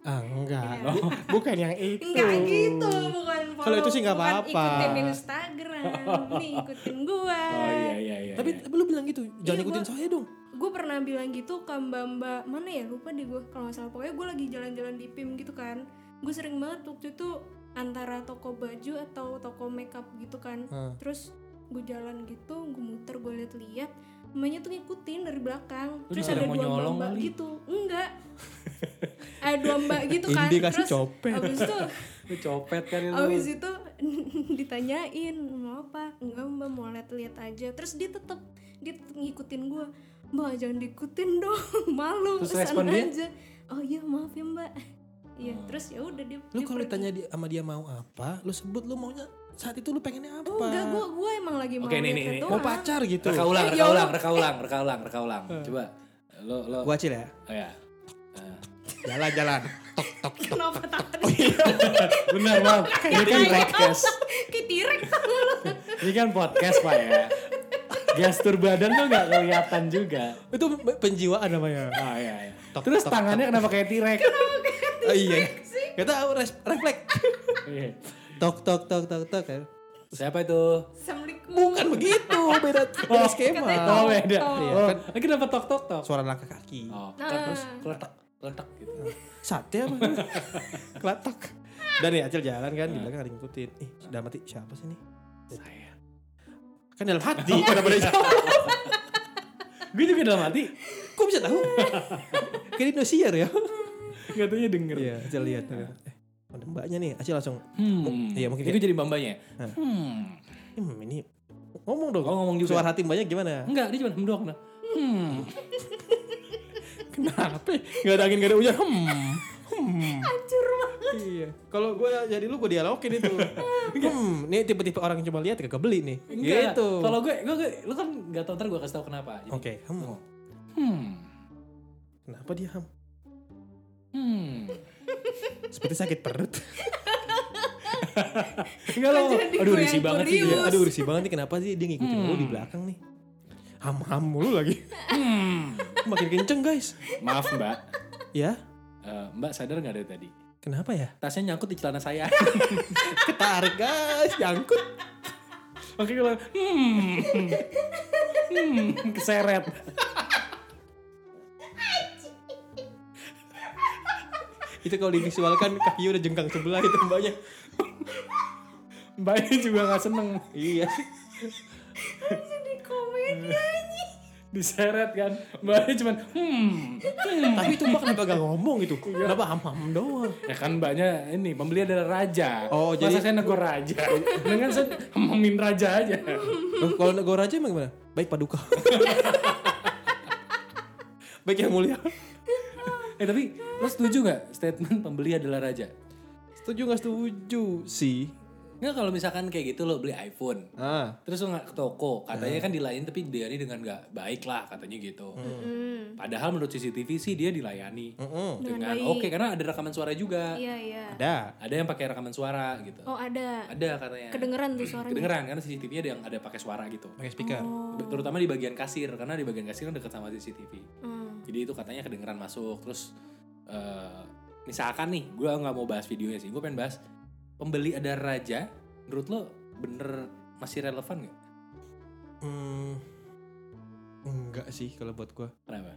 Speaker 2: Ah, enggak.
Speaker 1: Iya.
Speaker 4: Bukan yang itu.
Speaker 3: Enggak gitu, bukan follow.
Speaker 2: Kalau itu sih nggak
Speaker 3: bukan
Speaker 2: apa-apa.
Speaker 3: Ikutin Instagram, nih ikutin gua.
Speaker 1: Oh iya iya iya.
Speaker 2: Tapi, tapi lu bilang gitu, jangan
Speaker 3: Iya,
Speaker 2: ikutin
Speaker 3: gua-
Speaker 2: saya dong.
Speaker 3: Gue pernah bilang gitu ke mbak-mbak mana ya lupa deh gue kalau nggak salah pokoknya gue lagi jalan-jalan di PIM gitu kan. Gue sering banget waktu itu antara toko baju atau toko makeup gitu kan.
Speaker 2: Hmm.
Speaker 3: Terus gue jalan gitu, gue muter, gue liat-liat Mbaknya tuh ngikutin dari belakang
Speaker 1: Lu
Speaker 3: Terus
Speaker 1: dikira
Speaker 3: ada
Speaker 1: mau
Speaker 3: dua
Speaker 1: nyolong
Speaker 3: mbak
Speaker 1: kali?
Speaker 3: gitu Enggak Ada dua mbak gitu kan
Speaker 2: Ini dikasih
Speaker 3: Terus
Speaker 2: copet.
Speaker 3: abis itu
Speaker 1: Lu copet kan lu.
Speaker 3: Abis itu ditanyain mau apa? Enggak mbak mau lihat-lihat aja. Terus dia tetep dia tetep ngikutin gue. Mbak jangan diikutin dong, malu.
Speaker 1: Terus
Speaker 3: sana
Speaker 1: respon dia? Hmm.
Speaker 3: aja. Oh iya maaf ya mbak. Iya terus ya udah dia.
Speaker 2: Lu
Speaker 1: Iya,
Speaker 3: dia
Speaker 2: kalau
Speaker 3: pergi.
Speaker 1: gitu.
Speaker 2: ditanya dia- sama dia mau apa, lu sebut lu maunya saat itu lu pengennya apa?
Speaker 3: enggak gue gue emang lagi mau
Speaker 1: Oke, nih,
Speaker 3: lihat
Speaker 1: nih, nih.
Speaker 2: Mau pacar gitu.
Speaker 1: Reka ulang,
Speaker 3: Eh,
Speaker 1: reka
Speaker 3: ya
Speaker 1: ulang,
Speaker 3: Allah.
Speaker 1: reka ulang, reka ulang, reka ulang. Coba lo lo
Speaker 2: Gua acil ya.
Speaker 1: oh ya. Eh.
Speaker 2: Jalan-jalan.
Speaker 3: Kenapa tadi?
Speaker 1: Benar, Mam. Oh, iya, Ini kan podcast.
Speaker 3: Kayak tirek.
Speaker 1: Ini kan podcast, Pak ya. Gestur badan tuh nggak kelihatan juga.
Speaker 2: itu penjiwaan namanya.
Speaker 1: Oh iya, iya.
Speaker 4: Tok,
Speaker 1: Terus
Speaker 4: tok,
Speaker 1: tangannya kenapa kayak tirek?
Speaker 2: Oh, iya. Gak tau res- refleks.
Speaker 1: Iya.
Speaker 2: tok tok tok tok tok kan.
Speaker 1: Siapa itu?
Speaker 3: Assalamualaikum.
Speaker 2: Bukan Kan begitu, beda beda skema.
Speaker 1: Oh, beda.
Speaker 2: Iya,
Speaker 1: Oh,
Speaker 2: kan-
Speaker 1: lagi dapat tok tok tok.
Speaker 2: Suara langkah kaki.
Speaker 1: Oh,
Speaker 3: Nah.
Speaker 1: kan terus keletak, keletak gitu.
Speaker 2: Sate apa? Kelatak. Dan ya Acil jalan kan di belakang ada yang ngikutin. Ih, sudah mati siapa sih nih?
Speaker 1: Saya.
Speaker 2: Kan dalam hati pada pada jawab.
Speaker 1: Gue juga dalam hati
Speaker 2: Kok bisa tahu? Kayak Indosiar ya.
Speaker 1: nggak taunya denger.
Speaker 2: Iya, Acil lihat. Eh, ada mbaknya nih. Acil langsung,
Speaker 1: Hmm.
Speaker 2: Iya, mungkin
Speaker 1: itu jadi bambanya.
Speaker 2: Hah.
Speaker 1: Hmm.
Speaker 2: "Hmm, ini ngomong dong.
Speaker 1: Oh, ngomong juga.
Speaker 2: Suara hati mbaknya gimana?
Speaker 1: Enggak, dia cuma hmm doang. nah. Hmm.
Speaker 2: Kenapa? Gak ada angin, gak ada hujan. Hmm. Hmm. banget. Iya. Kalau gue jadi lu gue dialogin itu. hmm. Ini tipe-tipe orang yang coba lihat kagak beli nih.
Speaker 1: Enggak.
Speaker 2: Gitu.
Speaker 1: Kalau gue, gue, gue- lu kan nggak tahu ntar gue kasih tahu kenapa. Jadi,
Speaker 2: Oke. Hmm.
Speaker 1: Hmm.
Speaker 2: Kenapa dia ham?
Speaker 1: Hmm.
Speaker 2: Seperti sakit perut.
Speaker 1: Enggak lo.
Speaker 3: Kok jadi
Speaker 1: Aduh
Speaker 3: gue
Speaker 1: risih
Speaker 3: yang
Speaker 1: banget sih.
Speaker 3: curious?
Speaker 1: dia.
Speaker 2: Aduh risih banget nih kenapa sih dia ngikutin lu
Speaker 1: Hmm.
Speaker 2: di belakang nih. Ham-ham mulu lagi.
Speaker 1: Hmm.
Speaker 2: Makin kenceng guys.
Speaker 1: Maaf Mbak.
Speaker 2: Ya.
Speaker 1: Eh, mbak sadar nggak dari tadi?
Speaker 2: Kenapa ya?
Speaker 1: Tasnya nyangkut di celana saya.
Speaker 2: Ketarik guys. Nyangkut.
Speaker 1: Oke kalau hmm. Hmm, keseret.
Speaker 2: Itu kalau divisualkan kaki udah jengkang sebelah itu mbaknya.
Speaker 1: Mbaknya juga nggak seneng
Speaker 2: Iya.
Speaker 3: Jadi komedi aja.
Speaker 1: diseret kan. Mbaknya cuman hmm.
Speaker 2: Tapi itu mbak kenapa gak ngomong gitu? Kenapa ham-ham doang?
Speaker 1: Ya kan mbaknya ini pembeli adalah raja.
Speaker 2: Oh,
Speaker 1: Masa
Speaker 2: jadi-
Speaker 1: saya negor raja. Dengan saya hememin raja aja.
Speaker 2: Loh, kalau negor aja emang gimana? Baik paduka. Baik yang mulia.
Speaker 1: Eh tapi lo setuju nggak statement pembeli adalah raja?
Speaker 2: Setuju gak setuju sih?
Speaker 1: Nggak kalau misalkan kayak gitu lo beli iPhone,
Speaker 2: ah
Speaker 1: terus lo nggak ke toko, katanya kan dilayani tapi dilayani dengan nggak baik lah katanya gitu.
Speaker 3: Mm,
Speaker 1: Padahal menurut CCTV sih dia dilayani
Speaker 2: mm-mm.
Speaker 1: dengan
Speaker 3: baik.
Speaker 1: oke karena ada rekaman suara juga.
Speaker 3: Iya iya.
Speaker 2: ada
Speaker 1: Ada yang pakai rekaman suara gitu.
Speaker 3: Oh ada.
Speaker 1: Ada katanya.
Speaker 3: Kedengeran tuh suaranya.
Speaker 1: Kedengeran karena CCTV ada yang ada pakai suara gitu.
Speaker 2: pakai speaker
Speaker 3: Oh.
Speaker 1: Terutama di bagian kasir karena di bagian kasir kan dekat sama CCTV.
Speaker 3: mm.
Speaker 1: Jadi itu katanya kedengeran masuk terus eh, misalkan nih gue nggak mau bahas videonya sih gue pengen bahas pembeli ada raja menurut lo bener masih relevan nggak?
Speaker 2: Hmm, enggak sih kalau buat gua
Speaker 1: Kenapa?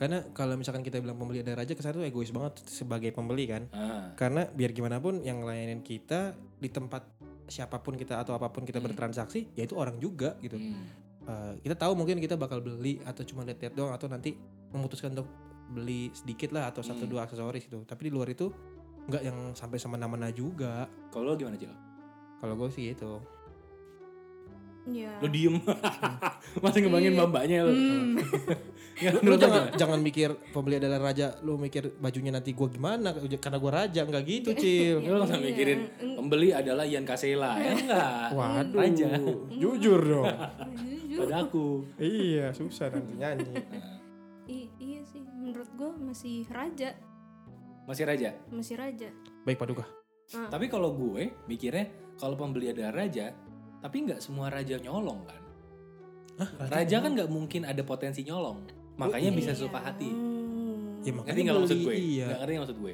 Speaker 2: karena kalau misalkan kita bilang pembeli ada raja kesan tuh egois banget sebagai pembeli kan
Speaker 1: Ah,
Speaker 2: karena biar gimana pun yang layanin kita di tempat siapapun kita atau apapun kita
Speaker 1: Hmm.
Speaker 2: bertransaksi ya itu orang juga gitu
Speaker 1: hmm.
Speaker 2: Eh, kita tahu mungkin kita bakal beli atau cuma lihat-lihat doang atau nanti memutuskan untuk beli sedikit lah atau satu
Speaker 1: Hmm.
Speaker 2: dua aksesoris itu tapi di luar itu nggak yang sampai semena-mena juga
Speaker 1: Kalau lo gimana Cil?
Speaker 3: Ah.
Speaker 2: kalau gue sih gitu
Speaker 3: Iya.
Speaker 1: Lo diem masih ngembangin
Speaker 3: Iya.
Speaker 1: mbak-mbaknya lo.
Speaker 3: Hmm.
Speaker 1: Ya,
Speaker 2: lu, lu
Speaker 1: menurut lo
Speaker 2: jangan
Speaker 1: gimana?
Speaker 2: jangan mikir pembeli adalah raja lu mikir bajunya nanti gue gimana karena gue raja nggak gitu cil
Speaker 1: Lo nggak
Speaker 3: Iya.
Speaker 1: mikirin
Speaker 3: Eng-
Speaker 1: pembeli adalah Ian Kasela ya enggak?
Speaker 4: Waduh.
Speaker 1: Raja.
Speaker 4: Jujur dong.
Speaker 3: Jujur.
Speaker 1: Pada aku.
Speaker 4: iya, susah nanti.
Speaker 2: nyanyi
Speaker 1: Nah,
Speaker 3: I- iya sih, menurut gue masih raja,
Speaker 1: masih raja.
Speaker 3: masih raja.
Speaker 2: baik paduka
Speaker 1: Tapi kalau gue mikirnya kalau pembeli ada raja, tapi nggak semua raja nyolong kan? Raja kan nggak mungkin ada potensi nyolong, makanya
Speaker 2: Oh,
Speaker 1: bisa
Speaker 3: Iya.
Speaker 1: suka hati.
Speaker 3: Hmm.
Speaker 2: Ya,
Speaker 1: Ngerti
Speaker 2: mak- Makanya
Speaker 1: nggak maksud
Speaker 2: beli,
Speaker 1: gue?
Speaker 2: iya.
Speaker 1: Nggak ngerti nggak maksud gue.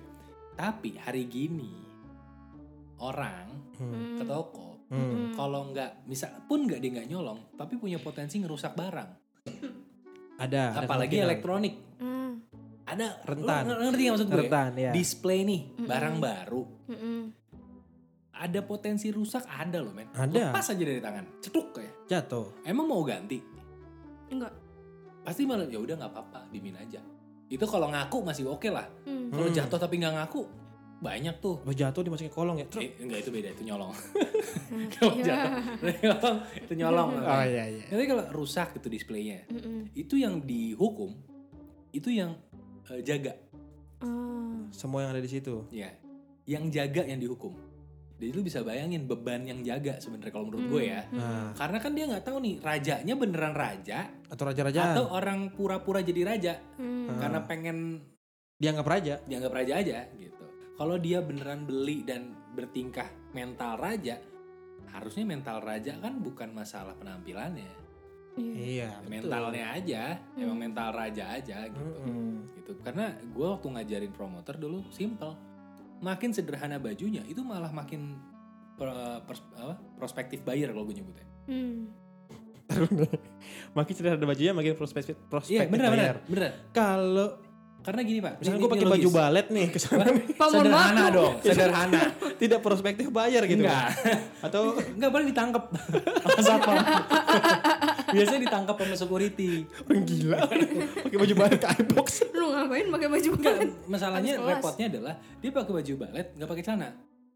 Speaker 1: Tapi hari gini orang
Speaker 2: Hmm.
Speaker 1: ke toko
Speaker 2: Hmm.
Speaker 3: Hmm.
Speaker 1: kalau nggak bisa pun nggak dia nggak nyolong, tapi punya potensi ngerusak barang,
Speaker 2: ada ada
Speaker 1: apalagi
Speaker 2: kemungkinan.
Speaker 1: elektronik.
Speaker 3: Hmm.
Speaker 1: Ada
Speaker 2: Rentan.
Speaker 1: Lo ngerti nggak maksud gue?
Speaker 2: rentan ya
Speaker 1: Display nih
Speaker 3: Mm-mm.
Speaker 1: barang baru,
Speaker 3: Mm-mm.
Speaker 1: ada potensi rusak ada loh men.
Speaker 2: Ada.
Speaker 1: Lepas aja dari tangan, cetuk kayak.
Speaker 2: jatuh
Speaker 1: Emang mau ganti?
Speaker 3: Enggak.
Speaker 1: Pasti malah ya udah nggak apa-apa, dimin aja. Itu kalau ngaku masih oke lah.
Speaker 3: Hmm.
Speaker 1: Kalau
Speaker 2: Hmm.
Speaker 1: jatuh tapi nggak ngaku, banyak tuh.
Speaker 2: Pas jatuh dimasukin ke kolong ya truk.
Speaker 1: Eh, enggak itu beda, itu nyolong.
Speaker 3: Hmm.
Speaker 1: Kalau
Speaker 3: Iya.
Speaker 1: jatuh, nyolong, itu nyolong.
Speaker 4: Oh
Speaker 1: namanya.
Speaker 4: iya iya.
Speaker 1: Nanti kalau rusak itu displaynya,
Speaker 3: Mm-mm.
Speaker 1: itu yang dihukum, itu yang eh, jaga,
Speaker 3: Ah.
Speaker 2: semua yang ada di situ
Speaker 1: ya, yang jaga yang dihukum. Jadi lu bisa bayangin beban yang jaga sebenarnya kalau menurut gue ya.
Speaker 3: Hmm.
Speaker 2: nah
Speaker 1: Karena kan dia nggak tahu nih rajanya beneran raja
Speaker 2: atau raja-rajaan
Speaker 1: atau orang pura-pura jadi raja
Speaker 3: Hmm.
Speaker 2: Ah.
Speaker 1: karena pengen
Speaker 2: dianggap raja
Speaker 1: dianggap raja aja gitu. Kalau dia beneran beli dan bertingkah mental raja, harusnya mental raja kan bukan masalah penampilannya,
Speaker 3: Iya.
Speaker 2: iya betul. Hmm,
Speaker 1: mentalnya aja,
Speaker 3: Hmm.
Speaker 1: emang mental raja aja gitu.
Speaker 2: Mm-mm.
Speaker 1: Gitu. Karena gue waktu ngajarin promoter dulu simple, makin sederhana bajunya itu malah makin pro- pers- apa? prospektif buyer kalau gue nyebutnya.
Speaker 3: Hmm.
Speaker 2: makin sederhana bajunya makin prospek prospek
Speaker 1: Iya bener bener bener.
Speaker 2: kalau
Speaker 1: Karena gini pak,
Speaker 2: misalnya
Speaker 1: ini-
Speaker 2: gue
Speaker 1: ini
Speaker 2: pakai baju
Speaker 1: logis.
Speaker 2: balet nih kesana
Speaker 3: Bangun
Speaker 1: sederhana
Speaker 3: waktu.
Speaker 1: dong, sederhana.
Speaker 2: Iya. tidak prospektif bayar gitu
Speaker 1: Enggak.
Speaker 2: atau
Speaker 1: Enggak boleh ditangkap sama satpam. Biasanya ditangkap sama security.
Speaker 2: orang gila pakai baju balet ke iBox
Speaker 3: Lu ngapain pakai baju
Speaker 1: Enggak,
Speaker 3: balet?
Speaker 1: masalahnya
Speaker 3: Habis kelas.
Speaker 1: repotnya adalah dia pakai baju balet, nggak pakai celana.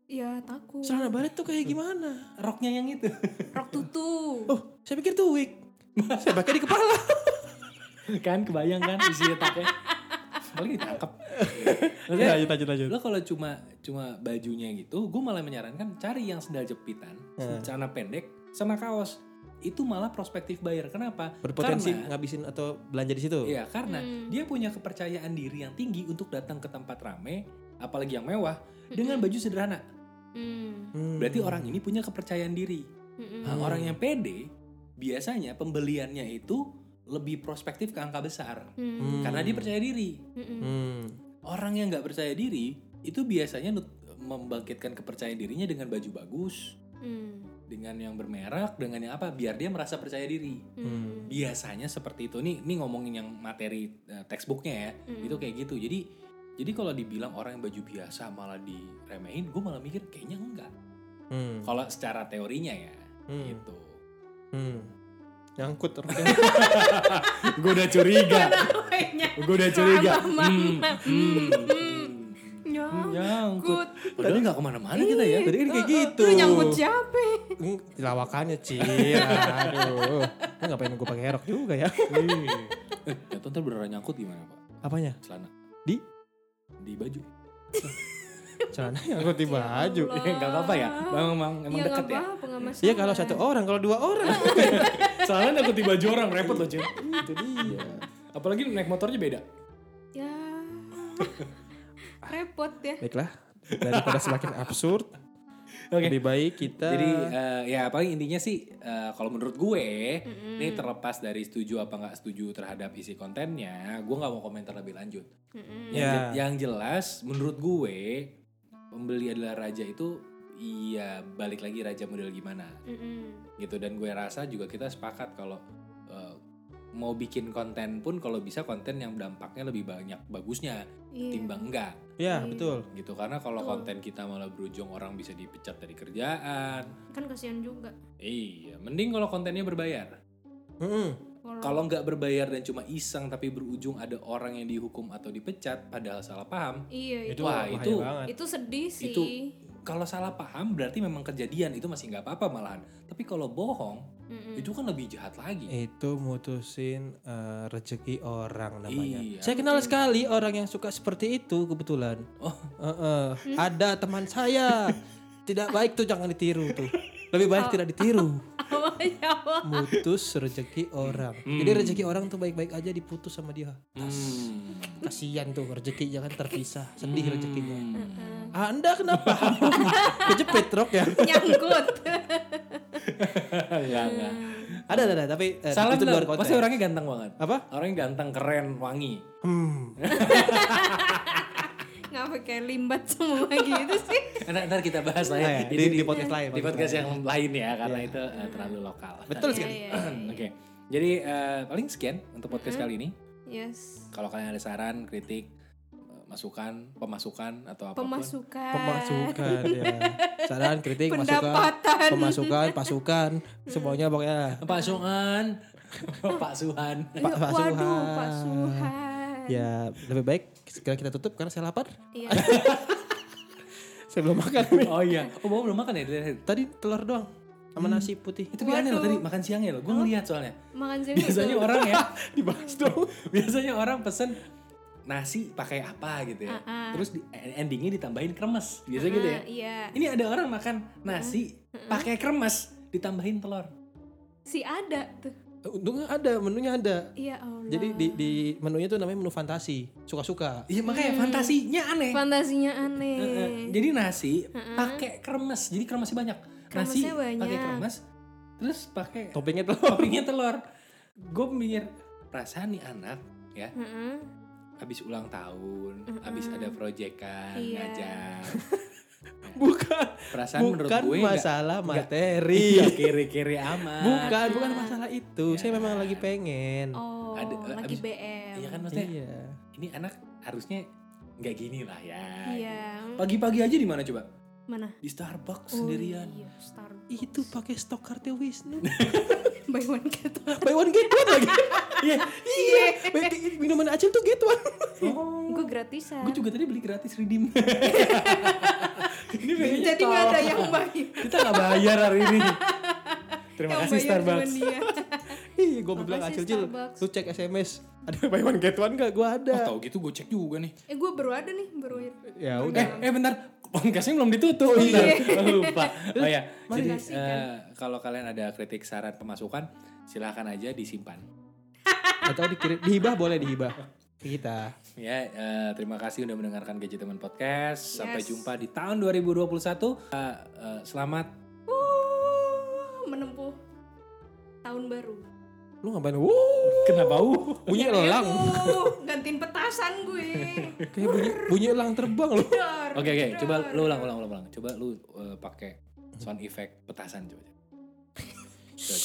Speaker 3: Ya takut.
Speaker 2: celana balet tuh kayak gimana
Speaker 1: Roknya yang itu.
Speaker 3: Rok tutu.
Speaker 2: oh saya pikir tuh wig saya pakai di kepala
Speaker 1: kan kebayang kan isi otaknya. Apalagi ditangkap. Maksudnya,
Speaker 2: lanjut lanjut lanjut
Speaker 1: lo kalau cuma cuma bajunya gitu, gue malah menyarankan cari yang sendal jepitan,
Speaker 2: Hmm.
Speaker 1: celana pendek, sama kaos. Itu malah prospektif buyer. Kenapa?
Speaker 2: berpotensi
Speaker 1: Karena-
Speaker 2: ngabisin atau belanja di situ
Speaker 1: Iya, karena
Speaker 3: Hmm.
Speaker 1: dia punya kepercayaan diri yang tinggi untuk datang ke tempat rame, apalagi yang mewah, dengan baju sederhana.
Speaker 3: Hmm.
Speaker 2: Hmm.
Speaker 1: Berarti orang ini punya kepercayaan diri.
Speaker 3: Mm-mm.
Speaker 1: Nah, orang yang pede biasanya pembeliannya itu lebih prospektif ke angka besar
Speaker 3: Hmm.
Speaker 2: Hmm.
Speaker 1: karena dia percaya diri.
Speaker 3: Mm-mm.
Speaker 2: Hmm.
Speaker 1: Orang yang nggak percaya diri itu biasanya nut- membangkitkan kepercayaan dirinya dengan baju bagus,
Speaker 3: Hmm.
Speaker 1: dengan yang bermerek, dengan yang apa, biar dia merasa percaya diri.
Speaker 3: Hmm.
Speaker 1: Biasanya seperti itu. Nih, nih ngomongin yang materi eh, textbooknya ya.
Speaker 3: Mm-mm.
Speaker 1: itu kayak gitu jadi jadi kalau dibilang orang yang baju biasa malah diremehin gue malah mikir kayaknya enggak
Speaker 2: Hmm.
Speaker 1: kalau secara teorinya ya
Speaker 2: Hmm.
Speaker 1: gitu
Speaker 2: Hmm. Nyangkut
Speaker 1: gue udah curiga
Speaker 3: Kayaknya.
Speaker 1: gue udah
Speaker 3: curiga. ya? Sama-sama. Hmm.
Speaker 1: Hmm,
Speaker 3: Nyangkut.
Speaker 1: nyangkut padahal nggak kemana-mana kita ya
Speaker 2: Tadi kan kayak
Speaker 3: Eh, eh,
Speaker 2: gitu.
Speaker 3: Lu nyangkut siapa?
Speaker 2: Hmm, Lawakannya Cil. Aduh. Lu ngapain gue pakai rok juga ya?
Speaker 1: eh jatuh ntar beneran nyangkut gimana pak
Speaker 2: Apanya?
Speaker 1: celana
Speaker 2: Di?
Speaker 1: di baju
Speaker 2: celana yang ganti baju.
Speaker 3: Allah.
Speaker 1: Gak apa-apa ya? Emang, emang, emang
Speaker 3: ya
Speaker 1: deket
Speaker 3: nggak
Speaker 1: ya?
Speaker 3: apa-apa nggak masalah
Speaker 2: Iya kalau satu orang, kalau dua orang
Speaker 1: Soalnya aku tiba baju orang, repot loh cuy.
Speaker 2: itu dia.
Speaker 1: Apalagi naik motornya beda.
Speaker 3: ya repot ya
Speaker 2: Baiklah, daripada semakin absurd,
Speaker 1: Oke.
Speaker 2: lebih baik kita
Speaker 1: Jadi eh, ya paling intinya sih eh, kalau menurut gue ini
Speaker 3: Hmm.
Speaker 1: terlepas dari setuju apa nggak setuju terhadap isi kontennya, gue nggak mau komentar lebih lanjut.
Speaker 3: Mm-mm.
Speaker 1: Yang,
Speaker 2: Ya.
Speaker 1: je- yang jelas menurut gue pembeli adalah raja itu iya balik lagi raja model gimana
Speaker 3: Mm-mm.
Speaker 1: gitu dan gue rasa juga kita sepakat kalau eh, mau bikin konten pun kalau bisa konten yang dampaknya lebih banyak bagusnya
Speaker 3: Iya.
Speaker 1: timbang enggak
Speaker 2: ya betul.
Speaker 1: gitu karena kalau
Speaker 3: Betul.
Speaker 1: konten kita malah berujung orang bisa dipecat dari kerjaan
Speaker 3: kan kasihan juga
Speaker 1: Iya, mending kalau kontennya berbayar.
Speaker 2: Mm-mm.
Speaker 1: Kalau nggak berbayar dan cuma iseng tapi berujung ada orang yang dihukum atau dipecat padahal salah paham.
Speaker 3: iya itu
Speaker 2: Itu
Speaker 1: Wah,
Speaker 2: bahaya
Speaker 1: itu-
Speaker 2: banget.
Speaker 3: itu sedih sih
Speaker 1: Itu Kalau salah paham berarti memang kejadian itu masih nggak apa-apa malahan. Tapi kalau bohong
Speaker 3: Mm-mm.
Speaker 1: itu kan lebih jahat lagi.
Speaker 2: Itu mutusin eh, rezeki orang namanya.
Speaker 1: Iya.
Speaker 2: Saya kenal sekali orang yang suka seperti itu kebetulan.
Speaker 1: Oh.
Speaker 2: Eh-eh, Ada teman saya. Tidak baik tuh jangan ditiru tuh.
Speaker 1: Oh.
Speaker 2: Lebih baik tidak ditiru.
Speaker 3: Apa ya, apa?
Speaker 2: Mutus rezeki orang. Jadi rezeki orang tuh baik-baik aja diputus sama dia.
Speaker 1: Hmm.
Speaker 2: Kasihan tuh rezeki jangan terpisah. Sedih rezekinya.
Speaker 1: Hmm.
Speaker 2: Ah, Anda kenapa? Kejepit rok ya.
Speaker 3: nyangkut
Speaker 1: Nggak, nggak.
Speaker 2: Ada ada, ada tapi eh,
Speaker 1: Salah
Speaker 2: itu
Speaker 1: bener.
Speaker 2: luar konteks.
Speaker 1: ya. Pasti orangnya ganteng banget.
Speaker 2: Apa?
Speaker 1: Orangnya ganteng, keren, wangi.
Speaker 2: Hmm.
Speaker 3: nggak pakai limbat semua gitu sih
Speaker 1: Eh, Ntar, ntar kita bahas
Speaker 2: Nah, ya,
Speaker 1: lagi.
Speaker 2: di, di podcast lain. Iya.
Speaker 1: di podcast yang lain ya karena itu eh, terlalu lokal.
Speaker 2: Betul
Speaker 3: Iya,
Speaker 2: sekali.
Speaker 3: iya,
Speaker 1: Oke.
Speaker 3: iya.
Speaker 1: Jadi eh, paling sekian untuk podcast kali ini.
Speaker 3: yes
Speaker 1: Kalau kalian ada saran, kritik, eh, masukan, pemasukan atau apapun.
Speaker 3: pemasukan
Speaker 2: Pemasukan ya. Saran, kritik, masukan,
Speaker 3: pendapatan
Speaker 2: pemasukan, pasukan, semuanya pokoknya.
Speaker 1: Pak Suhan, Pak Suhan.
Speaker 2: Pak- Pak
Speaker 3: waduh
Speaker 2: Suhan.
Speaker 3: Pak Suhan
Speaker 2: Ya, lebih baik segera kita tutup karena saya lapar.
Speaker 3: Iya.
Speaker 2: Saya belum makan.
Speaker 1: Oh iya, oh bawa belum makan ya? dari tadi?
Speaker 2: Tadi telur doang sama nasi putih.
Speaker 1: Itu aneh loh
Speaker 3: Waduh.
Speaker 1: tadi makan siangnya loh. Gue ngeliat soalnya.
Speaker 3: makan gitu. siang
Speaker 1: Biasanya
Speaker 3: itu.
Speaker 1: orang ya,
Speaker 2: Dibahas dong.
Speaker 1: biasanya orang pesen nasi pakai apa gitu ya.
Speaker 3: Ah, ah.
Speaker 1: Terus di, endingnya ditambahin kremes, biasa gitu ya.
Speaker 3: Ah, iya
Speaker 1: Ini ada orang makan nasi pakai kremes ditambahin telur.
Speaker 3: si ada tuh
Speaker 2: Eh, Untungnya ada, menunya ada.
Speaker 3: ya Allah
Speaker 2: Jadi di, di menunya tuh namanya menu fantasi, suka-suka.
Speaker 1: Iya makanya fantasinya aneh.
Speaker 3: Hmm. fantasinya
Speaker 1: Heeh.
Speaker 3: aneh
Speaker 1: Jadi nasi pakai kremes. Jadi kremesnya banyak. Nasi
Speaker 3: Kremesnya banyak.
Speaker 1: pakai kremes. Terus pakai
Speaker 2: Toppingnya telur.
Speaker 1: toppingnya telur. Gue mikir perasaan nih anak ya
Speaker 3: Heeh.
Speaker 1: habis ulang tahun, habis ada proyekan
Speaker 3: Iya.
Speaker 1: ngajar.
Speaker 2: Bukan,
Speaker 1: Perasaan menurut
Speaker 2: bukan
Speaker 1: gue nggak-
Speaker 2: masalah
Speaker 1: nggak-
Speaker 2: materi.
Speaker 1: Iya kiri-kiri amat.
Speaker 2: Bukan, bukan masalah itu. Saya memang lagi pengen.
Speaker 3: oh
Speaker 1: Ada- eh,
Speaker 3: lagi
Speaker 1: abis-
Speaker 3: BM
Speaker 1: Iya kan maksudnya
Speaker 2: Iya.
Speaker 1: ini anak harusnya nggak gini lah ya.
Speaker 3: Iya.
Speaker 1: Pagi-pagi aja di mana coba?
Speaker 3: mana
Speaker 1: Di Starbucks
Speaker 3: Oh,
Speaker 1: sendirian.
Speaker 3: iya, Starbucks.
Speaker 2: Itu pakai stok kartu Wisnu.
Speaker 3: buy one get one
Speaker 2: Buy one get one lagi. Iya. Iya. Baik, Minuman acil tuh get one.
Speaker 1: Oh.
Speaker 3: gue gratisan
Speaker 1: Gue juga tadi beli gratis redeem. ini pengennya
Speaker 3: jadi nggak ada
Speaker 1: tolong.
Speaker 3: yang bayar
Speaker 1: Kita nggak bayar hari ini. Terima
Speaker 3: Yang
Speaker 1: kasih
Speaker 3: bayar
Speaker 1: Starbucks.
Speaker 3: cuma dia.
Speaker 2: Iya, gue bilang
Speaker 3: Makasih,
Speaker 2: acil cil.
Speaker 3: Starbucks.
Speaker 2: Lu cek SMS. Ada buy one get one gak? Gue ada.
Speaker 1: Tahu gitu gue cek juga nih.
Speaker 3: eh gue baru ada nih baru
Speaker 2: Ya
Speaker 3: baru
Speaker 1: Eh,
Speaker 3: dalam.
Speaker 1: eh bentar. Podcastnya belum ditutup. bentar. Oh iya. Lupa. Oh ya. Jadi
Speaker 3: kasih,
Speaker 1: eh,
Speaker 3: kan?
Speaker 1: kalau kalian ada kritik, saran, pemasukan, silahkan aja disimpan.
Speaker 2: Atau dikirim dihibah boleh dihibah ke kita.
Speaker 1: Ya, eh, terima kasih udah mendengarkan Gaji Teman Podcast. Sampai
Speaker 3: Yes.
Speaker 1: jumpa di tahun 2021. Eh, eh, selamat
Speaker 3: Wuh, menempuh tahun baru
Speaker 2: Lu ngapain? Wuh,
Speaker 1: kena bau.
Speaker 2: bunyi
Speaker 3: Iya,
Speaker 2: elang.
Speaker 3: Wuh, gantiin petasan gue
Speaker 2: Kayak bunyi bunyi elang terbang loh.
Speaker 3: Dar,
Speaker 1: Oke oke,
Speaker 3: dar.
Speaker 1: coba lu ulang ulang ulang ulang. Coba lu eh, pakai sound effect petasan coba. coba. coba.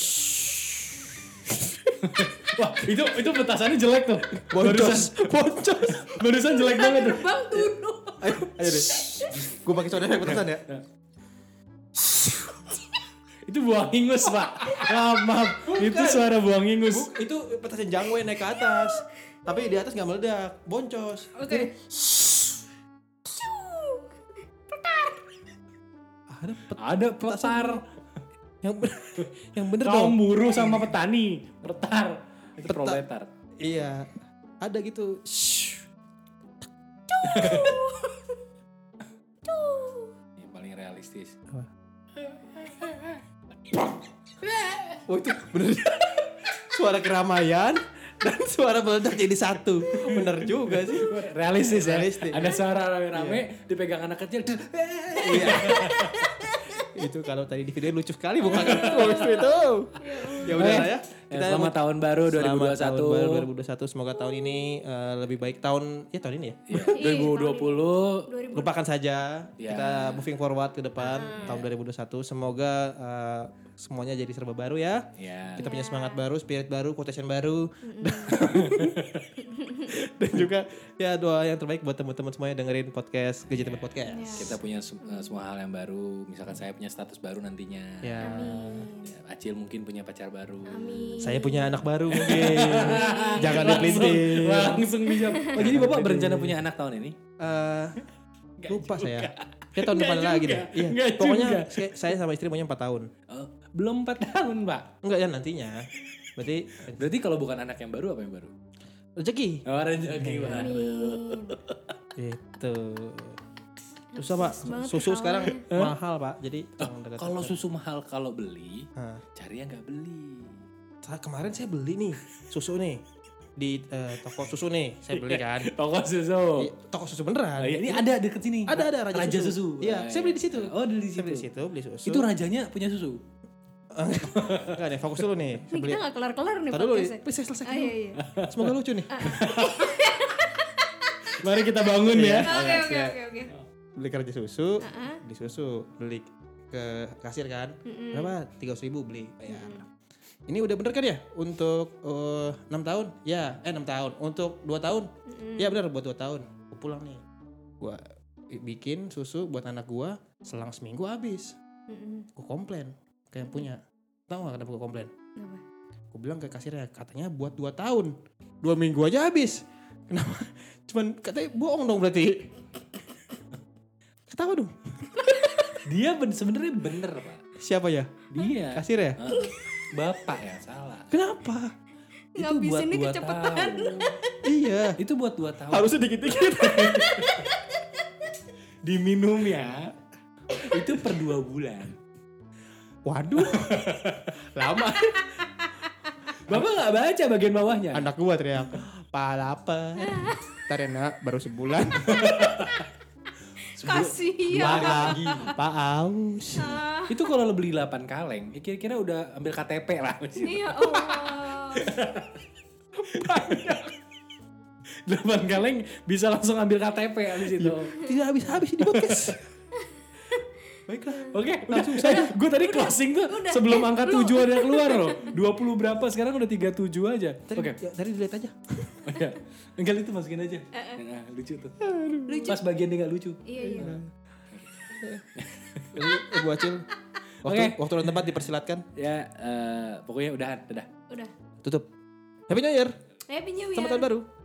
Speaker 1: Wah, itu itu petasannya jelek tuh.
Speaker 2: Boncos, boncos.
Speaker 1: Barusan jelek banget tuh.
Speaker 3: terbang dulu
Speaker 2: Ayo, ayo deh. Gue pakai soda efek petasan ya.
Speaker 1: Itu buang ingus, Pak. Maaf, maaf. Itu suara buang ingus.
Speaker 2: Bu, itu petasan jangwe naik ke atas. Tapi di atas nggak meledak, boncos.
Speaker 3: oke
Speaker 2: "Ah, Ada pet-
Speaker 1: Ada petar.
Speaker 2: yang bener, yang bener dong.
Speaker 1: Kaum buruh sama petani. Petar. Itu
Speaker 2: Peta-
Speaker 1: proletar.
Speaker 2: Iya. Ada gitu. Shhh.
Speaker 3: Tuh.
Speaker 2: Oh itu bener. suara keramaian dan suara meledak jadi satu. Bener juga sih.
Speaker 1: Realistis ya.
Speaker 2: Realistis.
Speaker 1: Ada suara rame-rame dipegang anak kecil. duh, eh.
Speaker 2: Iya. itu kalau tadi di video lucu sekali bukan Habis itu. Ya udah lah
Speaker 1: Iya.
Speaker 2: ya.
Speaker 1: Ya, selamat tahun baru 2021.
Speaker 2: Selamat tahun baru 2021. Semoga tahun ini eh, lebih baik tahun ya tahun ini ya.
Speaker 1: Iya,
Speaker 3: Iya,
Speaker 1: 2020
Speaker 3: 2000
Speaker 2: Lupakan saja.
Speaker 1: Ya.
Speaker 2: Kita moving forward ke depan tahun 2021. Semoga eh, semuanya jadi serba baru ya.
Speaker 1: ya.
Speaker 2: Kita punya semangat baru, spirit baru, quotation baru. Dan juga ya doa yang terbaik buat teman-teman semuanya dengerin podcast Gaji Teman Podcast.
Speaker 1: Kita punya sem- eh, semua hal yang baru. Misalkan saya punya status baru nantinya.
Speaker 2: Ya.
Speaker 1: Ya, Acil mungkin punya pacar baru.
Speaker 2: Saya punya anak baru mungkin. Jangan
Speaker 1: Langsung-
Speaker 2: dipelintir.
Speaker 1: Langsung dijawab. Oh, jadi Bapak berencana punya anak tahun ini?
Speaker 2: Eh,
Speaker 1: Nggak
Speaker 2: lupa saya. Ya tahun depan
Speaker 1: Nggak
Speaker 2: lagi
Speaker 1: juga.
Speaker 2: deh. Iya.
Speaker 1: Nggak
Speaker 2: Pokoknya
Speaker 1: juga.
Speaker 2: saya- saya sama istri maunya 4 tahun.
Speaker 1: Oh, belum 4 tahun, Pak.
Speaker 2: Enggak ya nantinya. Berarti
Speaker 1: Berarti kalau bukan anak yang baru apa yang baru?
Speaker 2: rezeki.
Speaker 1: Oh, rezeki baru.
Speaker 3: Amin.
Speaker 2: Gitu. Susah pak,
Speaker 3: banget Eh?
Speaker 2: susu
Speaker 3: ketawanya.
Speaker 2: sekarang mahal pak, jadi tolong dekat-
Speaker 1: Kalau susu mahal kalau beli,
Speaker 2: Hah.
Speaker 1: cari yang nggak beli.
Speaker 2: Sa- kemarin saya beli nih susu nih di eh, toko susu nih, saya beli kan,
Speaker 1: Toko susu.
Speaker 2: Di toko susu beneran.
Speaker 1: Oh, iya, ini ada deket sini.
Speaker 2: Ada ada raja,
Speaker 1: susu.
Speaker 2: Iya, saya beli di situ.
Speaker 1: Oh, beli di
Speaker 2: Saya beli di
Speaker 1: situ.
Speaker 2: situ beli susu.
Speaker 1: Itu rajanya punya susu.
Speaker 2: Enggak deh, fokus dulu nih. Saya
Speaker 3: Ini
Speaker 2: beli.
Speaker 3: kita gak kelar-kelar nih
Speaker 2: Tahan dulu,
Speaker 3: podcastnya.
Speaker 2: nih. saya selesai
Speaker 3: Ah, iya, ah. iya.
Speaker 2: Semoga lucu nih.
Speaker 1: Mari kita bangun
Speaker 2: ya.
Speaker 3: Oke, oke,
Speaker 2: Iya.
Speaker 3: oke, oke.
Speaker 2: Beli kerja susu,
Speaker 3: Ah,
Speaker 2: beli susu, beli ke kasir kan.
Speaker 3: Mm-mm.
Speaker 2: Berapa? 300 ribu beli. Bayar. Ini udah bener kan ya untuk eh, enam tahun? Ya, eh 6 tahun. Untuk dua tahun?
Speaker 3: Mm-mm.
Speaker 2: Ya benar buat dua tahun. Gua pulang nih. Gua bikin susu buat anak gua selang seminggu habis.
Speaker 3: Mm-mm.
Speaker 2: Gua komplain ke yang punya. Tahu gak kenapa gua komplain?
Speaker 3: Kenapa?
Speaker 2: Gua bilang ke kasirnya katanya buat dua tahun. Dua minggu aja habis. Kenapa? Cuman katanya bohong dong berarti. Ketawa dong.
Speaker 1: Dia ben sebenarnya bener, Pak.
Speaker 2: Siapa ya?
Speaker 1: Dia.
Speaker 2: Kasir ya?
Speaker 1: Hah? Bapak ya salah.
Speaker 2: Kenapa?
Speaker 3: Ngabisinnya
Speaker 1: dua
Speaker 3: kecepetan.
Speaker 1: tahun.
Speaker 2: iya.
Speaker 1: Itu buat 2 tahun.
Speaker 2: Harusnya dikit-dikit.
Speaker 1: diminum ya. Itu per 2 bulan.
Speaker 2: Waduh. Lama.
Speaker 1: Bapak nggak baca bagian bawahnya.
Speaker 2: Anak gua teriak. Pala apa? Ntar ya, nak, baru sebulan. Iya.
Speaker 3: Kasihan.
Speaker 2: Pak Pak Aus.
Speaker 3: Ah,
Speaker 1: Itu kalau lo beli 8 kaleng, ya kira-kira udah ambil KTP lah.
Speaker 3: Ya Allah.
Speaker 1: 8 kaleng bisa langsung ambil KTP habis itu.
Speaker 2: Tidak habis-habis di podcast.
Speaker 1: Baiklah. Oke, langsung saja. Gue tadi closing tuh sebelum angka 7 ada keluar loh. 20 berapa sekarang udah 37 aja.
Speaker 2: Tadi,
Speaker 1: Oke.
Speaker 2: ya, tadi dilihat aja.
Speaker 1: Oh, iya. Enggak itu masukin aja. Nah, lucu tuh. Pas bagian dia enggak lucu.
Speaker 3: Iya, iya.
Speaker 2: Jadi, Ibu Acil. Waktu,
Speaker 1: Oke.
Speaker 2: waktu dan tempat dipersilatkan.
Speaker 1: Ya, eh, pokoknya udahan, dadah.
Speaker 3: Udah. ya.
Speaker 2: Tutup. Happy New Year.
Speaker 3: Happy New Year. Iya.
Speaker 2: Selamat tahun baru.